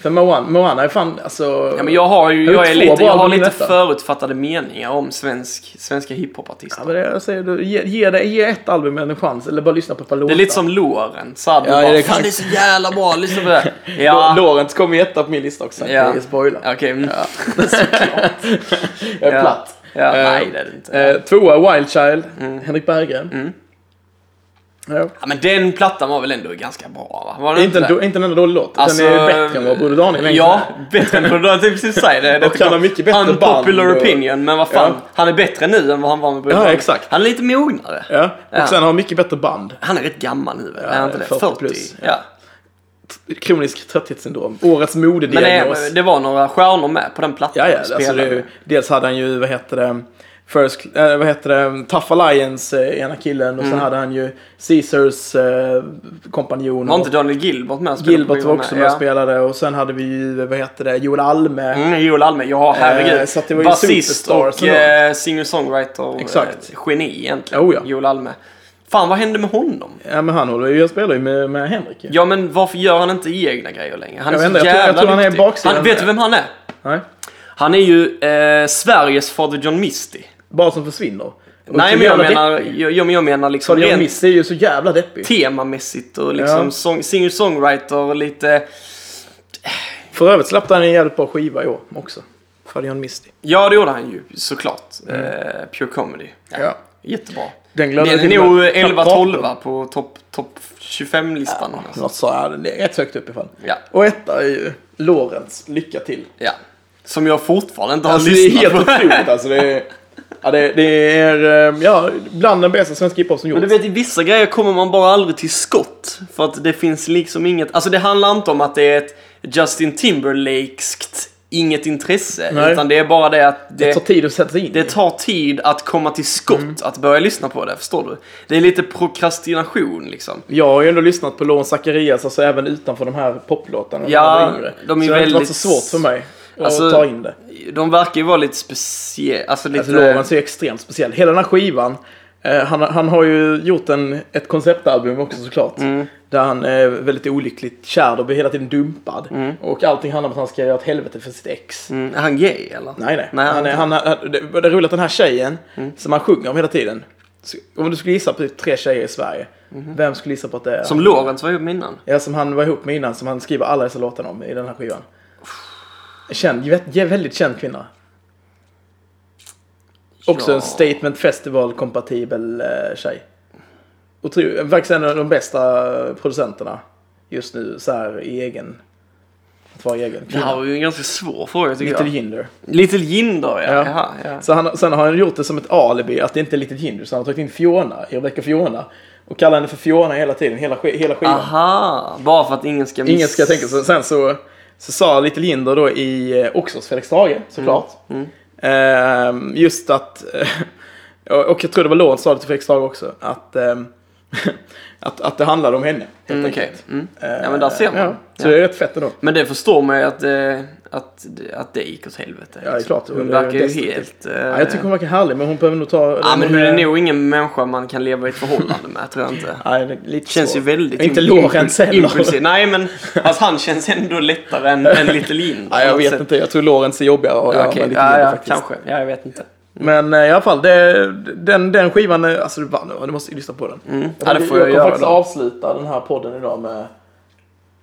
A: För Moana, Moana är fan alltså...
B: Ja, men jag har ju,
A: Jag har
B: jag är
A: två
B: lite,
A: bra
B: jag har
A: album i
B: lite
A: detta.
B: förutfattade meningar om svensk, svenska hiphopartister.
A: Ja, men det, jag säger, du, ge, ge, det, ge ett album en chans eller bara lyssna på ett par låtar.
B: Det är lite som Loren, såhär du
A: Ja,
B: bara
A: det är kanske-
B: Fan det är så jävla bra, lyssna på det. Ja,
A: Lo- Lorentz kom ju etta på min lista också.
B: Ja.
A: Det är spoiler.
B: okej. mm.
A: Jag är
B: Ja.
A: platt.
B: Ja, Mm.
A: Eh,
B: nej det är det inte.
A: Eh, tvåa Wild Child, Henrik Berggren. Ja.
B: Ja, men den plattan var väl ändå ganska bra? Va? Var den
A: Inte, en,
B: det?
A: do- inte en enda dålig låt.
B: Alltså,
A: den är bättre än vad Broder Daniel är.
B: Ja, bättre än Broder Daniel. Jag precis säga det. det.
A: Och han har mycket bättre
B: Unpopular
A: band och-
B: opinion, men vad fan.
A: Ja.
B: Han är bättre nu än vad han var med Broder
A: Ja,
B: Daniel.
A: exakt.
B: Han är lite mognare.
A: Ja. Och
B: Ja.
A: sen har han mycket bättre band.
B: Han är rätt gammal nu, väl? är han inte det?
A: 40
B: 40?
A: plus,
B: Ja.
A: Kronisk trötthetssyndrom. Årets
B: Men eh,
A: modediagnos.
B: det, det var några stjärnor med på den plattan.
A: Ja, ja.
B: vi
A: Alltså,
B: spelade.
A: det, är ju- dels hade han ju, vad heter det, First, eh, vad heter det, Tough Alliance, eh, ena killen. Och
B: Mm.
A: sen hade han ju Caesars eh, kompanjon.
B: Var
A: och
B: inte Daniel Gilbert med? och spelade på
A: Gilbert var
B: skivan
A: också
B: med?
A: med och spelade. Och sen hade vi ju, vad heter det, Joel Alme.
B: Mm, Joel Alme, ja herregud.
A: Eh, så att det var ju
B: Basist
A: Superstars
B: och
A: ändå.
B: eh, singer-songwriter.
A: Exakt.
B: Eh, geni egentligen.
A: Oh, ja.
B: Joel Alme. Fan, vad hände med honom?
A: Ja, men han håller ju, jag spelar ju med, med Henrik ju.
B: Ja, men varför gör han inte egna grejer längre? Han är
A: Jag
B: så
A: vet inte, jag tror- jag
B: jävla
A: tror han är
B: duktig.
A: baksidan.
B: han, Vet du vem han är?
A: Nej.
B: Han är ju eh, Sveriges Fader John Misty.
A: Bara som försvinner. Och så
B: Nej, men jag
A: jävla
B: menar, jag, jag, men jag menar liksom
A: deppig. John
B: rent
A: Miss är ju så jävla deppig.
B: temamässigt och liksom
A: Ja.
B: sång, singer-songwriter och lite...
A: För övrigt släppte han en jävligt bra skiva i år också. För John Misty.
B: Ja, det gjorde han ju såklart. Eh, pure Comedy.
A: Mm. Ja.
B: Jättebra.
A: Den
B: Den
A: glömde jag till
B: är
A: och
B: nog
A: med knappt prata
B: 11-12 på topp top 25-listan.
A: om.
B: alltså.
A: Något så, ja, den är rätt högt upp i alla fall.
B: Ja.
A: Och etta är ju Lorentz, Lycka till.
B: ja. Som jag fortfarande inte har
A: Alltså det är
B: lyssnat
A: helt
B: på.
A: otroligt alltså. Det är, ja, det, det är eh, ja, bland den bästa svenska hiphop som
B: Men
A: gjorts.
B: du vet, i vissa grejer kommer man bara aldrig till skott. För att det finns liksom inget... Alltså det handlar inte om att det är ett Justin Timberlakeskt inget intresse.
A: Nej.
B: Utan det är bara det att
A: det
B: det,
A: tar tid Mm. att sätta sig in
B: det
A: i.
B: tar tid att komma till skott. Att börja lyssna på det, förstår du? Det är lite prokrastination liksom.
A: Jag har ju ändå lyssnat på Lorentz Zacharias, alltså även utanför de här poplåtarna. när
B: Ja,
A: jag var yngre.
B: de är
A: så det har inte varit
B: väldigt-
A: så svårt för mig att
B: Alltså,
A: ta in det.
B: De verkar ju vara lite speciella. Alltså lite...
A: Alltså, Lorentz är ju extremt speciell. Hela den här skivan, eh, han, han har ju gjort en, ett konceptalbum också såklart. Där han är väldigt olyckligt kär och blir hela tiden dumpad. Och allting handlar om att han ska göra ett helvete för sitt ex.
B: Mm, är han gay eller?
A: Nej, nej.
B: Nej,
A: han är, han, han, det det är roligt att den här tjejen som han sjunger om hela tiden. Så, om du skulle gissa på typ tre tjejer i Sverige. Vem skulle gissa på att det är?
B: Som Lorentz var ihop med innan.
A: ja, som han var ihop med innan, som han skriver alla dessa låtar om i den här skivan. Känd, jä- jä- väldigt känd kvinna. Också
B: Ja.
A: en statement festival-kompatibel eh, tjej. Och tro, faktiskt en av de bästa producenterna just nu så här i egen. Att vara egen
B: Det här
A: kvinna.
B: var ju en ganska svår fråga tycker
A: Little
B: jag.
A: Jinder.
B: Little Jinder, ja.
A: Ja.
B: Jaha, ja.
A: Så han, sen har han gjort det som ett alibi att det inte är Little Jinder. Så han har tagit in Fiona, Rebecca Fiona. Och kallar henne för Fiona hela tiden, hela, sk- hela
B: Ah.
A: skivan.
B: Aha, bara för att ingen ska miss...
A: Ingen ska tänka så. Sen så, så sa Little Jinder då i eh, också hos Felix Tage såklart.
B: Mm.
A: Ehm, just att, och- och jag tror det var Lorentz sa det till Felix Tage också, att, ehm, att, att det handlade om henne. helt
B: Mm,
A: enkelt. Eh,
B: Okej. Mm. Ja, men där ser man.
A: Ja, så
B: Ja.
A: det är rätt fett ändå.
B: Men det förstår man ju att, eh, att, det- att det gick åt helvete.
A: Ja, det är
B: liksom.
A: klart.
B: Hon
A: Det är
B: verkar ju
A: destruktivt.
B: helt... eh,
A: Ja, jag tycker hon verkar härlig men hon behöver nog ta...
B: ja, men hon är nog ingen människa man kan leva i ett förhållande med, tror jag inte.
A: Nej, det är lite
B: Känns ju
A: svårt.
B: väldigt
A: Inte
B: imp-
A: Lorentz
B: impul-
A: heller.
B: impulsiv. Nej, men alltså, han känns ändå lättare än, än Little Jinder.
A: Ja,
B: på
A: jag
B: något
A: vet
B: sätt.
A: inte, jag tror Lorentz är jobbigare att
B: Ja,
A: göra
B: Okej,
A: med lite
B: ja,
A: mindre
B: ja,
A: faktiskt.
B: kanske. Ja, jag vet inte.
A: Men eh, i alla fall, det, den, den skivan, är- alltså det var, du måste ju lyssna på den.
B: Ja, det
A: tänkte-
B: får jag
A: kommer
B: göra
A: faktiskt
B: då.
A: avsluta den här podden idag med,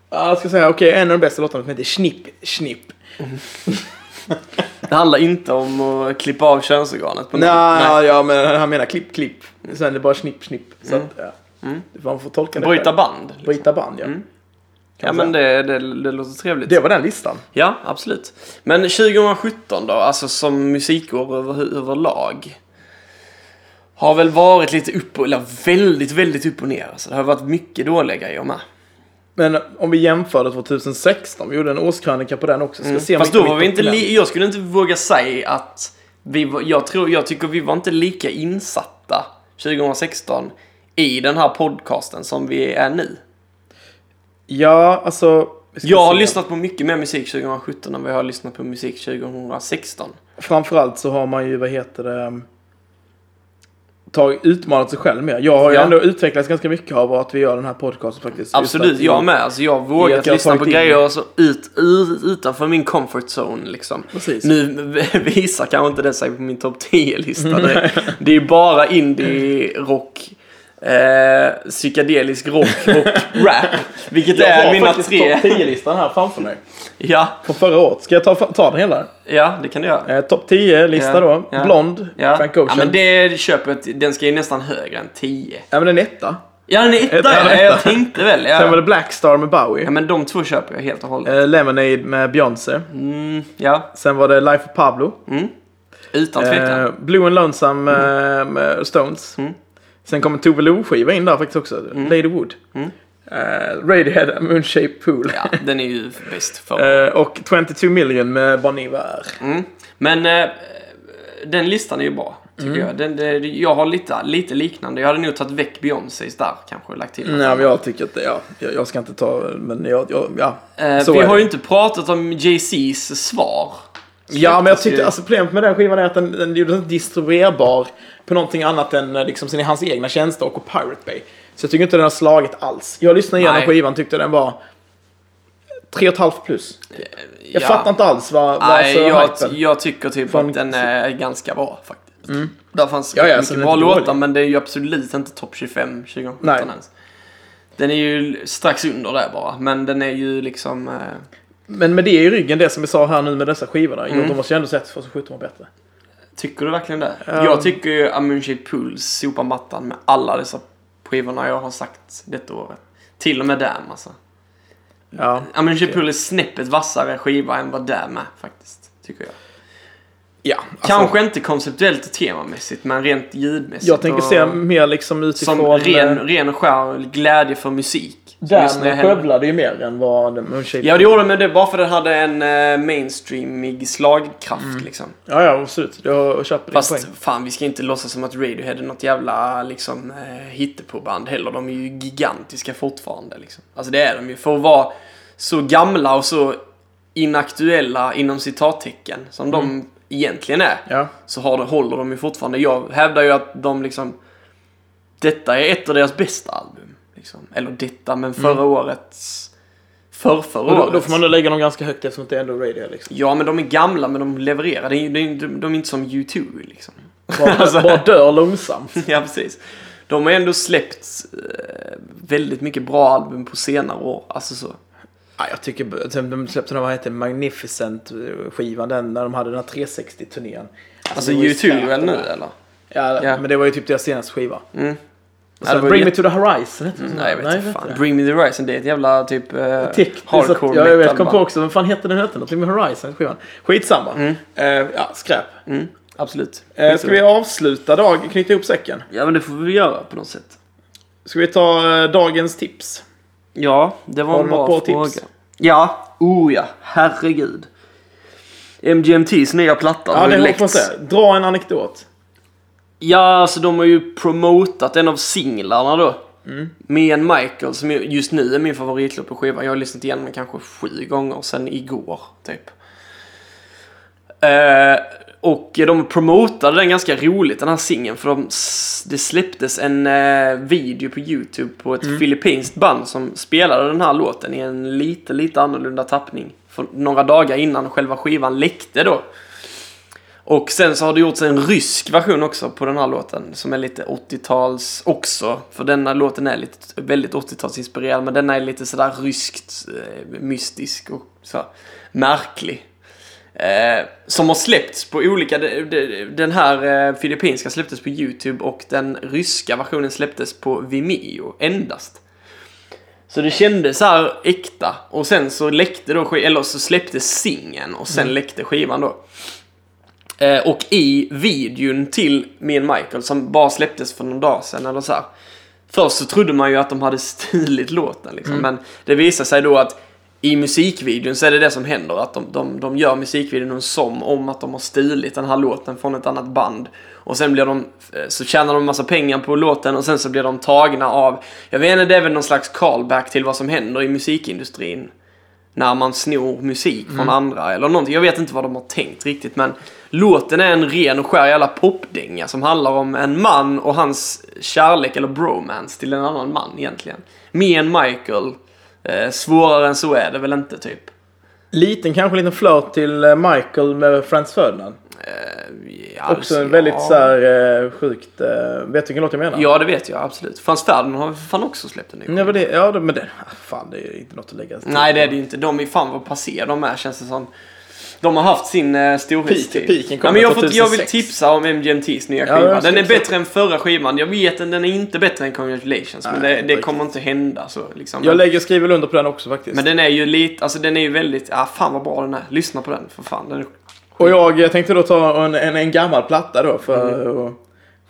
A: ja, jag ska säga, okej, en av de bästa låtarna som heter Snipp, Snipp.
B: Det handlar inte om att klippa av könsorganet på något
A: Nej, Mm. ja, men han menar klipp, klipp. Sen är det bara Snipp, Snipp. Så att, ja. Man får tolka det
B: Bryta
A: själv.
B: band. liksom.
A: Bryta band, ja.
B: Ja, men det, det, det låter trevligt.
A: Det var den listan.
B: Ja, absolut. Men 2017 då, alltså som musikår över, överlag. Har väl varit lite upp och, eller väldigt, väldigt upp och ner. Alltså, det har varit mycket dåliga grejer med.
A: Men om vi jämför det 2016, vi gjorde en årskrönika på den också. Ska se om
B: Mm. Fast
A: vi
B: då
A: kan
B: var vi
A: hitta
B: inte,
A: till den.
B: li- jag skulle inte våga säga att vi var, jag tror, jag tycker vi var inte lika insatta 2016 i den här podcasten som vi är nu.
A: Ja, alltså. vi ska
B: Jag har
A: se.
B: lyssnat på mycket mer musik 2017 än vad jag har lyssnat på musik 2016.
A: Framförallt så har man ju, vad heter det, tag, utmanat sig själv mer. Jag har ju
B: Ja.
A: ändå utvecklats ganska mycket av att vi gör den här podcasten faktiskt. Just
B: Absolut,
A: att-
B: jag med. Alltså jag har
A: i att
B: vågat
A: jag har
B: lyssna på
A: tagit in-
B: grejer alltså, ut, ut, utanför min comfort zone liksom.
A: Precis.
B: Nu visar kanske inte det sig på min topp 10-lista direkt. Det är ju bara indie-rock, eh, psykedelisk rock och rap. Vilket
A: Jag har
B: är mina
A: faktiskt
B: tre.
A: topp 10-listan här framför mig.
B: Ja,
A: Från förra året. Ska jag ta, ta den hela?
B: ja, det kan du göra.
A: Eh, topp 10-lista
B: Ja,
A: då.
B: ja.
A: Blond,
B: Ja.
A: Frank Ocean.
B: ja, men det köper jag. Den ska ju nästan högre än 10.
A: ja, men den etta.
B: Ja, den är
A: Ett-
B: etta.
A: ja,
B: Ja,
A: etta.
B: jag tänkte väl.
A: Sen var
B: Ja.
A: det Blackstar med Bowie.
B: ja, men de två köper jag helt och hållet.
A: Eh, Lemonade med Beyoncé.
B: Mm, ja,
A: Sen var det Life of Pablo.
B: mm. utan tvekan.
A: Eh, Blue and Lonesome eh, med Stones.
B: Mm.
A: Sen kom en Tove Lo-skiva in där faktiskt också. Lady Wood.
B: Mm.
A: Eh, Radiohead, Moonshaped Pool.
B: Ja, den är ju bäst för
A: Eh, och 22 million med Bon Iver.
B: Mm. Men eh, den listan är ju bra, tycker
A: Mm.
B: jag. Den, det- jag har lite, lite liknande. Jag hade nog tagit väck Beyoncé där, kanske, och lagt till något
A: Nej, men
B: annat.
A: jag tycker att det, ja. Jag, jag ska inte ta, men jag, jag ja.
B: Eh,
A: så
B: Vi
A: är
B: har
A: det.
B: ju inte pratat om Jay-Z's svar.
A: Ja, men jag
B: släpptes ju-
A: tyckte, alltså problemet med den skivan är att den, den gjordes inte distribuerbar på någonting annat än eh, liksom, sina, hans egna tjänster och Pirate Bay. Så jag tycker inte den har slagit alls. Jag lyssnade igenom
B: Nej.
A: skivan tyckte den var 3,5 plus. Jag
B: Ja.
A: fattar inte alls vad, vad
B: Nej,
A: alltså,
B: jag,
A: hypen.
B: jag tycker typ
A: Från- Mm.
B: att den är ganska bra, faktiskt. Där fanns
A: Ja, ja, så den
B: mycket
A: är
B: bra
A: inte
B: låtar,
A: dålig.
B: men det är ju absolut inte topp 25 2017
A: Nej.
B: ens. Den är ju strax under där bara, men den är ju liksom... Eh,
A: Men med det i ryggen, det som vi sa här nu med dessa skivorna, mm. de måste ju ändå sett för så 17 var bättre.
B: Tycker du verkligen det? Jag tycker ju Amunshade Pool sopar mattan med alla dessa skivorna jag har sagt detta året. Till och med Damn alltså.
A: Ja.
B: Amunshade Pool är snäppet vassare skiva än vad Damn är faktiskt. Tycker jag.
A: Alltså- ja alltså,
B: Kanske inte konceptuellt och temamässigt men rent ljudmässigt.
A: Jag tänker
B: och,
A: se mer liksom utifrån...
B: Som ren, ren och skär glädje för musik. Så lyssnar jag
A: Där
B: hellre.
A: skövlade ju mer än vad Moonshaped...
B: Ja det gjorde men det bara för att den hade en eh, mainstreamig slagkraft
A: Mm.
B: liksom.
A: ja, ja, absolut. Jag köper din poäng.
B: Fast fan, vi ska inte låtsas som att Radiohead är något jävla liksom, eh, hittepåband heller. De är ju gigantiska fortfarande. Liksom. Alltså det är de ju. För att vara så gamla och så inaktuella inom citattecken som
A: Mm.
B: de egentligen är.
A: Ja.
B: Så har, det- håller de ju fortfarande. Jag hävdar ju att de liksom... Detta är ett av deras bästa album. Liksom. Eller detta, men förra årets... Förrförra
A: Mm. Och då,
B: årets.
A: då får man nog lägga dem ganska högt eftersom det är ändå Radiohead liksom.
B: Ja, men de är gamla, men de levererar. Det är ju- det är ju- De de är inte som U2 liksom.
A: Bara, bara dör långsamt.
B: Ja, precis. De har ändå släppt eh, väldigt mycket bra album på senare år. Alltså så.
A: Ja, jag tycker sen de släppte den, vad hette den, Magnificent-skivan, den när de hade den här 360-turnén.
B: Alltså
A: det var ju
B: U2 väl
A: skräp,
B: nu
A: det där.
B: eller?
A: Ja,
B: Ja.
A: men det var ju typ deras senaste skiva.
B: Mm.
A: Och
B: Ja, det
A: sen
B: var
A: Bring
B: ju Mm,
A: Me To The Horizon hette den.
B: Nej, jag vet inte
A: vet
B: fan.
A: jag.
B: Bring Me The Horizon, det är ett jävla typ eh,
A: Tekniskt att,
B: hardcore
A: ja, jag vet,
B: metal
A: kom på
B: band.
A: också, vad fan hette den? Hette någonting med Horizon skivan? Skitsamma. Eh, ja, skräp.
B: Mm, absolut.
A: Eh, ska vi avsluta dag, knyta ihop säcken?
B: Ja, men det får vi göra på något sätt.
A: Ska vi ta eh, dagens tips?
B: Ja, det var
A: Har
B: en
A: du något
B: bra
A: bra
B: fråga.
A: tips?
B: Ja, oh ja, herregud. MGMT's nya platta
A: Ja,
B: har ju
A: det
B: läckts.
A: får man säga. Dra en anekdot.
B: Ja, alltså de har ju promotat en av singlarna då. Me and Michael, som ju- just nu är min favoritlåt på skivan. Jag har lyssnat igenom den kanske sju gånger sedan igår, typ. Eh, och de promotade den ganska roligt, den här singeln. För de, s- det släpptes en eh, video på YouTube på ett filippinskt band som spelade den här låten i en lite, lite annorlunda tappning. För några dagar innan själva skivan läckte då. Och sen så har det gjorts en rysk version också på den här låten som är lite 80-tals också. För denna låten är lite, väldigt 80-talsinspirerad men denna är lite sådär ryskt eh, mystisk och så här, märklig. Eh, som har släppts på olika, de- de- den här eh, filippinska släpptes på YouTube och den ryska versionen släpptes på Vimeo endast. Så det kändes så här äkta och sen så läckte då, sk- eller så släpptes singeln och sen läckte skivan då. Eh, och i videon till Me and Michael som bara släpptes för någon dag sedan eller så här. Först så trodde man ju att de hade stulit låten liksom. Men det visar sig då att i musikvideon så är det det som händer. Att de, de, de gör musikvideon som om att de har stulit den här låten från ett annat band. Och sen blir de, eh, så tjänar de massa pengar på låten och sen så blir de tagna av, jag vet inte, det är väl någon slags callback till vad som händer i musikindustrin när man snor musik
A: Mm.
B: från andra eller någonting. Jag vet inte vad de har tänkt riktigt men låten är en ren och skär jävla popdänga som handlar om en man och hans kärlek eller bromance till en annan man egentligen. Me and Michael. Eh, svårare än så är det väl inte typ.
A: Liten, kanske liten flört till eh, Michael med Franz Ferdinand. Också
B: Ja,
A: en
B: Alltså, ja.
A: väldigt så här eh, sjukt... eh, Vet du vilken låt jag menar?
B: Ja det vet jag absolut. Frans Ferdinand har fan också släppt en ny
A: Ja, men det, ja det- men det... ah, Fan, det är inte något att lägga sig till.
B: Nej det är det ju inte. De är fan vad passé de är känns det som. De har haft sin eh, storhetstid.
A: Peak- peaken kom
B: ja, men jag, får,
A: 2006.
B: jag vill tipsa om MGMT's nya
A: Ja,
B: skiva.
A: jag ska
B: den är
A: också.
B: bättre än förra skivan. Jag vet att den är inte bättre än Congratulations.
A: Nej,
B: men det,
A: inte
B: det
A: riktigt.
B: kommer inte hända så liksom.
A: Jag lägger skriver under på den också faktiskt.
B: men den är ju lite, alltså den är ju väldigt, ah fan vad bra den är. Lyssna på den för fan. Den är,
A: Och jag eh, tänkte då ta en, en, en gammal platta då för,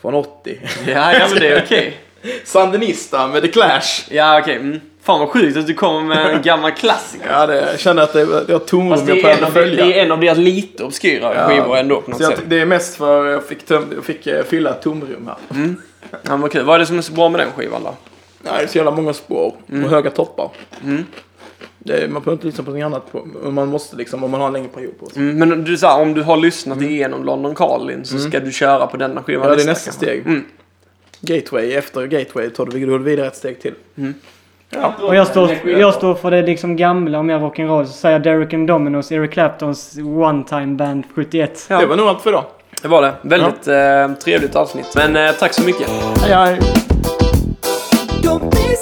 A: från 80.
B: Mm. ja, ja men det är okej.
A: Sandinista med The Clash.
B: Ja okej. Mm. Fan vad sjukt att du kommer med en gammal klassiker.
A: Ja, det, jag kände att det, det var tomrum
B: Fast
A: jag
B: det, är en
A: behövde
B: av, det
A: följa.
B: är en av deras lite obskyra
A: Ja.
B: skivor ändå på något
A: Så jag,
B: sätt.
A: det är mest för jag fick, töm, jag fick eh, fylla ett tomrum här.
B: Mm. Ja, men kul. Vad är det som är så bra med den skivan då?
A: Nej, det är så jävla många spår
B: Mm.
A: och höga toppar. Det är, man behöver inte lyssna på något annat. På, man måste liksom om man har en längre period på sig.
B: Mm, men du sa om du har lyssnat igenom London Calling så ska du köra på denna skivan
A: Mm. Ja, det är nästa
B: nästa kanske.
A: steg.
B: Mm.
A: Gateway, efter Gateway tar du går du vidare ett steg till. Ja.
C: Och jag står, jag står för det liksom gamla, om jag är rock'n'roll, så säger jag Derek and Dominos, Eric Claptons One Time Band 71.
B: Ja.
A: Det var nog allt för idag.
B: Det var det. Väldigt eh, trevligt avsnitt. Men eh, tack så mycket.
A: Hej, hej.
D: Don't be